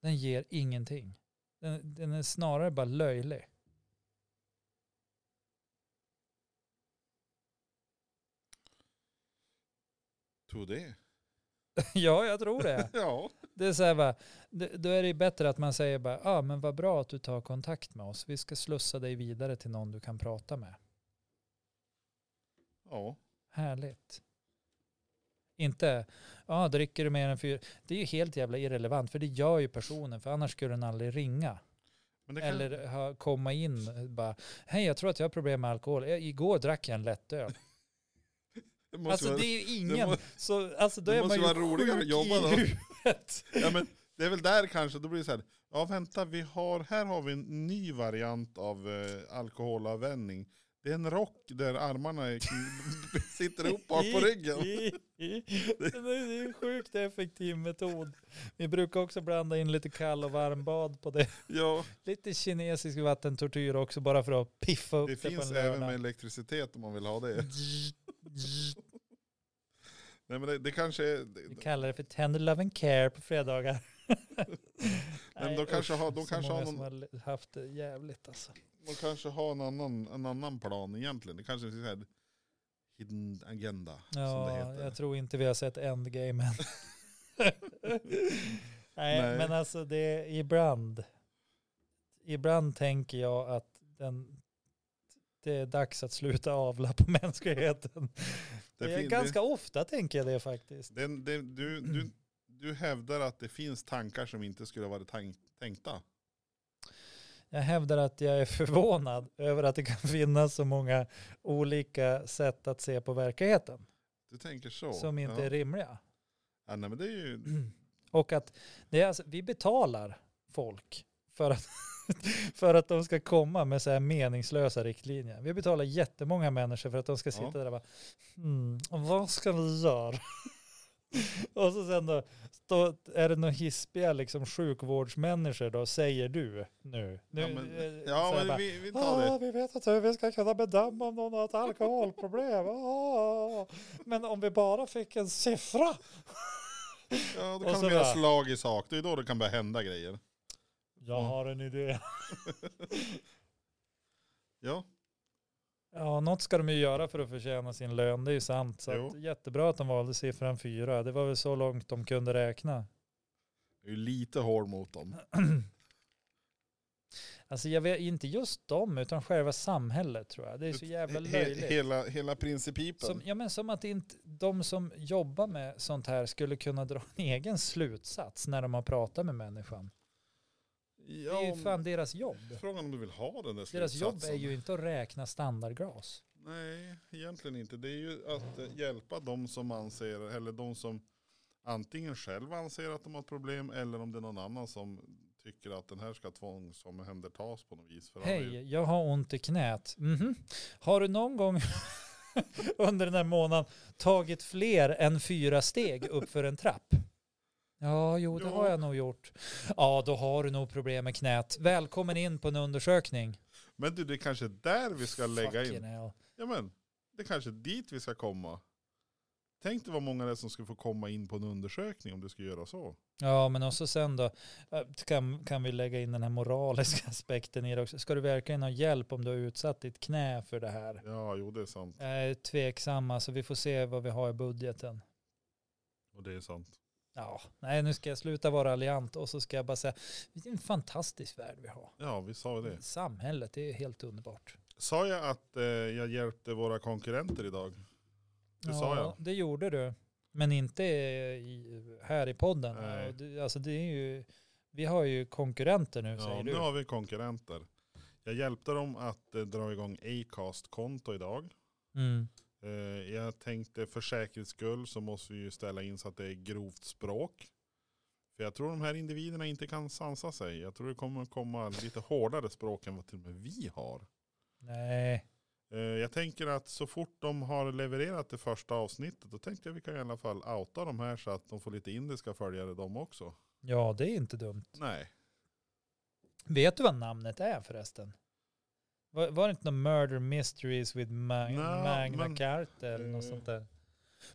S1: Den ger ingenting. Den, den är snarare bara löjlig. (laughs)
S2: Tror det.
S1: ja, jag tror det.
S2: Ja.
S1: Det är så här bara, d- då är det ju bättre att man säger bara, ja ah, men vad bra att du tar kontakt med oss. Vi ska slussa dig vidare till någon du kan prata med.
S2: ja.
S1: Härligt. Inte, ja dricker du mer än fyra? Det är ju helt jävla irrelevant för det gör ju personen för annars skulle den aldrig ringa.
S2: Men det kan,
S1: Eller eh, ha, komma in och bara, hej jag tror att jag har problem med alkohol. Jag, igår drack jag en lättöl.
S2: det måste
S1: Alltså
S2: vara,
S1: det är ju ingen,
S2: må-
S1: så alltså då
S2: det
S1: är man
S2: måste
S1: ju
S2: vara roligare att
S1: sjuk
S2: jobba då.
S1: i huvudet.
S2: ja, men det är väl där kanske, då blir det så här. Ja vänta, vi har, här har vi en ny variant av eh, alkoholavvänjning. Det är en rock där armarna är, (laughs) sitter ihop bak på ryggen.
S1: Det är ju en sjukt effektiv metod. Vi brukar också blanda in lite kall och varmbad på det.
S2: Ja,
S1: Lite kinesisk vattentortyr också bara för att piffa upp
S2: det
S1: det, på
S2: finns
S1: en
S2: även med
S1: lördag.
S2: elektricitet om man vill ha det. Nej men det, det kanske är, det,
S1: Vi kallar det för Tender Love and Care på fredagar.
S2: men de kanske har- de
S1: så
S2: kanske
S1: många
S2: har
S1: som har haft det jävligt alltså.
S2: de kanske har en annan, en annan plan egentligen. Det kanske är så här hidden agenda som det
S1: Ja,
S2: heter.
S1: jag tror inte vi har sett Endgame
S2: (laughs)
S1: än. Nej,
S2: Nej.
S1: men alltså det är ibland. Ibland tänker jag att den, det är dags att sluta avla på (laughs) mänskligheten.
S2: Det
S1: Det är
S2: fin-
S1: ganska ofta tänker jag det faktiskt.
S2: det, det, det, du, du, du hävdar att det finns tankar som inte skulle ha varit tank, tänkta.
S1: Jag hävdar att jag är förvånad över att det kan finnas så många olika sätt att se på verkligheten
S2: Du tänker så.
S1: som inte
S2: ja.
S1: är rimliga.
S2: ja, nej, men det är ju,
S1: Och att det är alltså, vi betalar folk för att, (laughs) för att de ska komma med så här meningslösa riktlinjer. Vi betalar jättemånga människor för att de ska sitta
S2: Ja.
S1: där och bara, mm, vad ska vi göra? (laughs) och så sen då, då är det några hispiga liksom sjukvårdsmänniskor då, säger du nu. nu
S2: ja, men,
S1: eh, så
S2: ja,
S1: här
S2: men
S1: bara,
S2: vi, vi tar
S1: Ah,
S2: det.
S1: vi vet inte hur vi ska kunna bedöma om någon har ett alkoholproblem. (laughs) Ah. Men om vi bara fick en siffra.
S2: Ja,
S1: och
S2: då kan
S1: så
S2: de göra
S1: bara-
S2: slag i sak. Det är då det kan börja hända grejer.
S1: Jag
S2: Mm.
S1: har en idé.
S2: Ja,
S1: Ja, något ska de ju göra för att förtjäna sin lön, det är ju sant. Så
S2: Jo.
S1: att, jättebra att de valde siffran fyra. Det var väl så långt de kunde räkna.
S2: det är ju lite hård mot dem.
S1: Alltså jag vet inte just dem, utan själva samhället tror jag. Det är så jävla
S2: He-
S1: löjligt.
S2: Hela, hela principipen.
S1: Som, ja, men som att inte de som jobbar med sånt här skulle kunna dra en egen slutsats när de har pratat med människan. Det
S2: ja,
S1: är ju
S2: om-
S1: fan deras jobb.
S2: Frågan om du vill ha den där
S1: Deras jobb är
S2: slutsatsen.
S1: ju inte att räkna standardglas.
S2: Nej, egentligen inte. Det är ju att eh, hjälpa de som anser, eller de som antingen själva anser att de har ett problem, eller om det är någon annan som tycker att den här ska tvångsomhändertas på något vis. För alla ju-
S1: Hej, jag har ont i knät. Mhm. Har du någon gång (laughs) under den här månaden tagit fler än fyra steg upp för en trapp? Ja, jo, det
S2: Ja.
S1: har jag nog gjort. Ja, då har du nog problem med knät. Välkommen in på en undersökning.
S2: Men du, det är kanske där vi ska lägga
S1: Fucking
S2: in.
S1: hell.
S2: Ja, men, det är kanske dit vi ska komma. Tänk dig vad många det är som skulle få komma in på en undersökning om du skulle göra så.
S1: Ja, men också sen då eh, kan, kan vi lägga in den här moraliska (laughs) aspekten i det också. Ska du verkligen ha hjälp om du har utsatt ditt knä för det här?
S2: Ja, jo det är sant.
S1: Jag är tveksam, alltså vi får se vad vi har i budgeten.
S2: Och det är sant.
S1: Ja, nej nu ska jag sluta vara alliant och så ska jag bara säga, vilken fantastisk värld vi har.
S2: Ja, vi sa ju det.
S1: Samhället, det är helt underbart.
S2: Sa jag att eh, jag hjälpte våra konkurrenter idag? Det sa jag.
S1: Det gjorde du, men inte i, här i podden.
S2: Nej.
S1: Och du- Alltså det är ju, vi har ju konkurrenter nu
S2: Ja,
S1: säger
S2: nu
S1: du.
S2: har vi konkurrenter. Jag hjälpte dem att eh, dra igång Acast-konto idag.
S1: Mm.
S2: Eh, jag tänkte för säkerhets skull så måste vi ju ställa in så att det är grovt språk. För jag tror de här individerna inte kan sansa sig. Jag tror det kommer komma lite hårdare språk än vad till och med vi har.
S1: Nej,
S2: Eh, jag tänker att så fort de har levererat det första avsnittet då tänkte jag vi kan i alla fall outa de här så att de får lite indiska följare de också.
S1: ja det är inte dumt.
S2: Nej,
S1: Vet du vad namnet är förresten? Var, var det inte någon Murder Mysteries with Ma-
S2: Nej,
S1: Magna
S2: men-
S1: Carta eller något
S2: Eh.
S1: sånt där?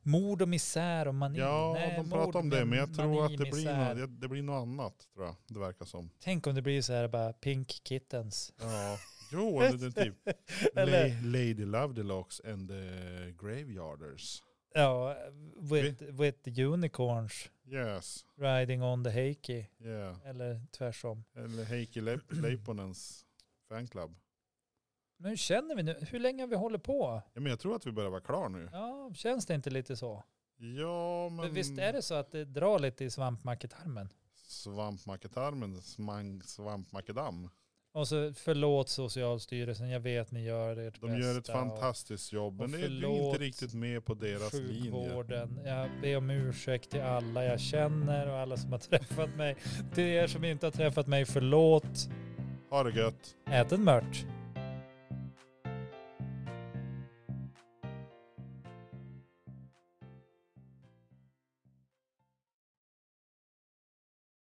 S1: Mord och misär och mani.
S2: ja
S1: Nej,
S2: de
S1: mord,
S2: pratar om det men jag
S1: mani,
S2: tror att det blir,
S1: misär.
S2: något, det- det blir något annat tror jag det verkar som.
S1: Tänk om det blir så här bara Pink Kittens.
S2: Ja, (laughs) jo, eller den typ.
S1: (laughs) Eller-
S2: La- Lady Lovedilocks and the Graveyarders.
S1: Ja, with, with the unicorns
S2: Yes,
S1: riding on the Heikki.
S2: yeah.
S1: Eller tvärsom.
S2: Eller Heikki Leip- (clears throat) Leiponens fanclub.
S1: Men hur känner vi nu? Hur länge har vi hållit på?
S2: Ja, men jag tror att vi börjar vara klar nu.
S1: Ja, känns det inte lite så?
S2: Ja,
S1: Men,
S2: men...
S1: visst är det så att det drar lite i svampmacketarmen?
S2: Svampmacketarmen, smang- svampmackedam.
S1: Och så förlåt Socialstyrelsen, jag vet ni gör ert
S2: De
S1: bästa.
S2: gör ett
S1: och
S2: fantastiskt jobb, men
S1: och
S2: det är du är
S1: förlåt,
S2: inte riktigt med på deras linje.
S1: Sjukvården, jag ber om ursäkt till alla jag känner och alla som har (laughs) träffat mig. Till er som inte har träffat mig, förlåt.
S2: Ha det gött.
S1: Ät en mört.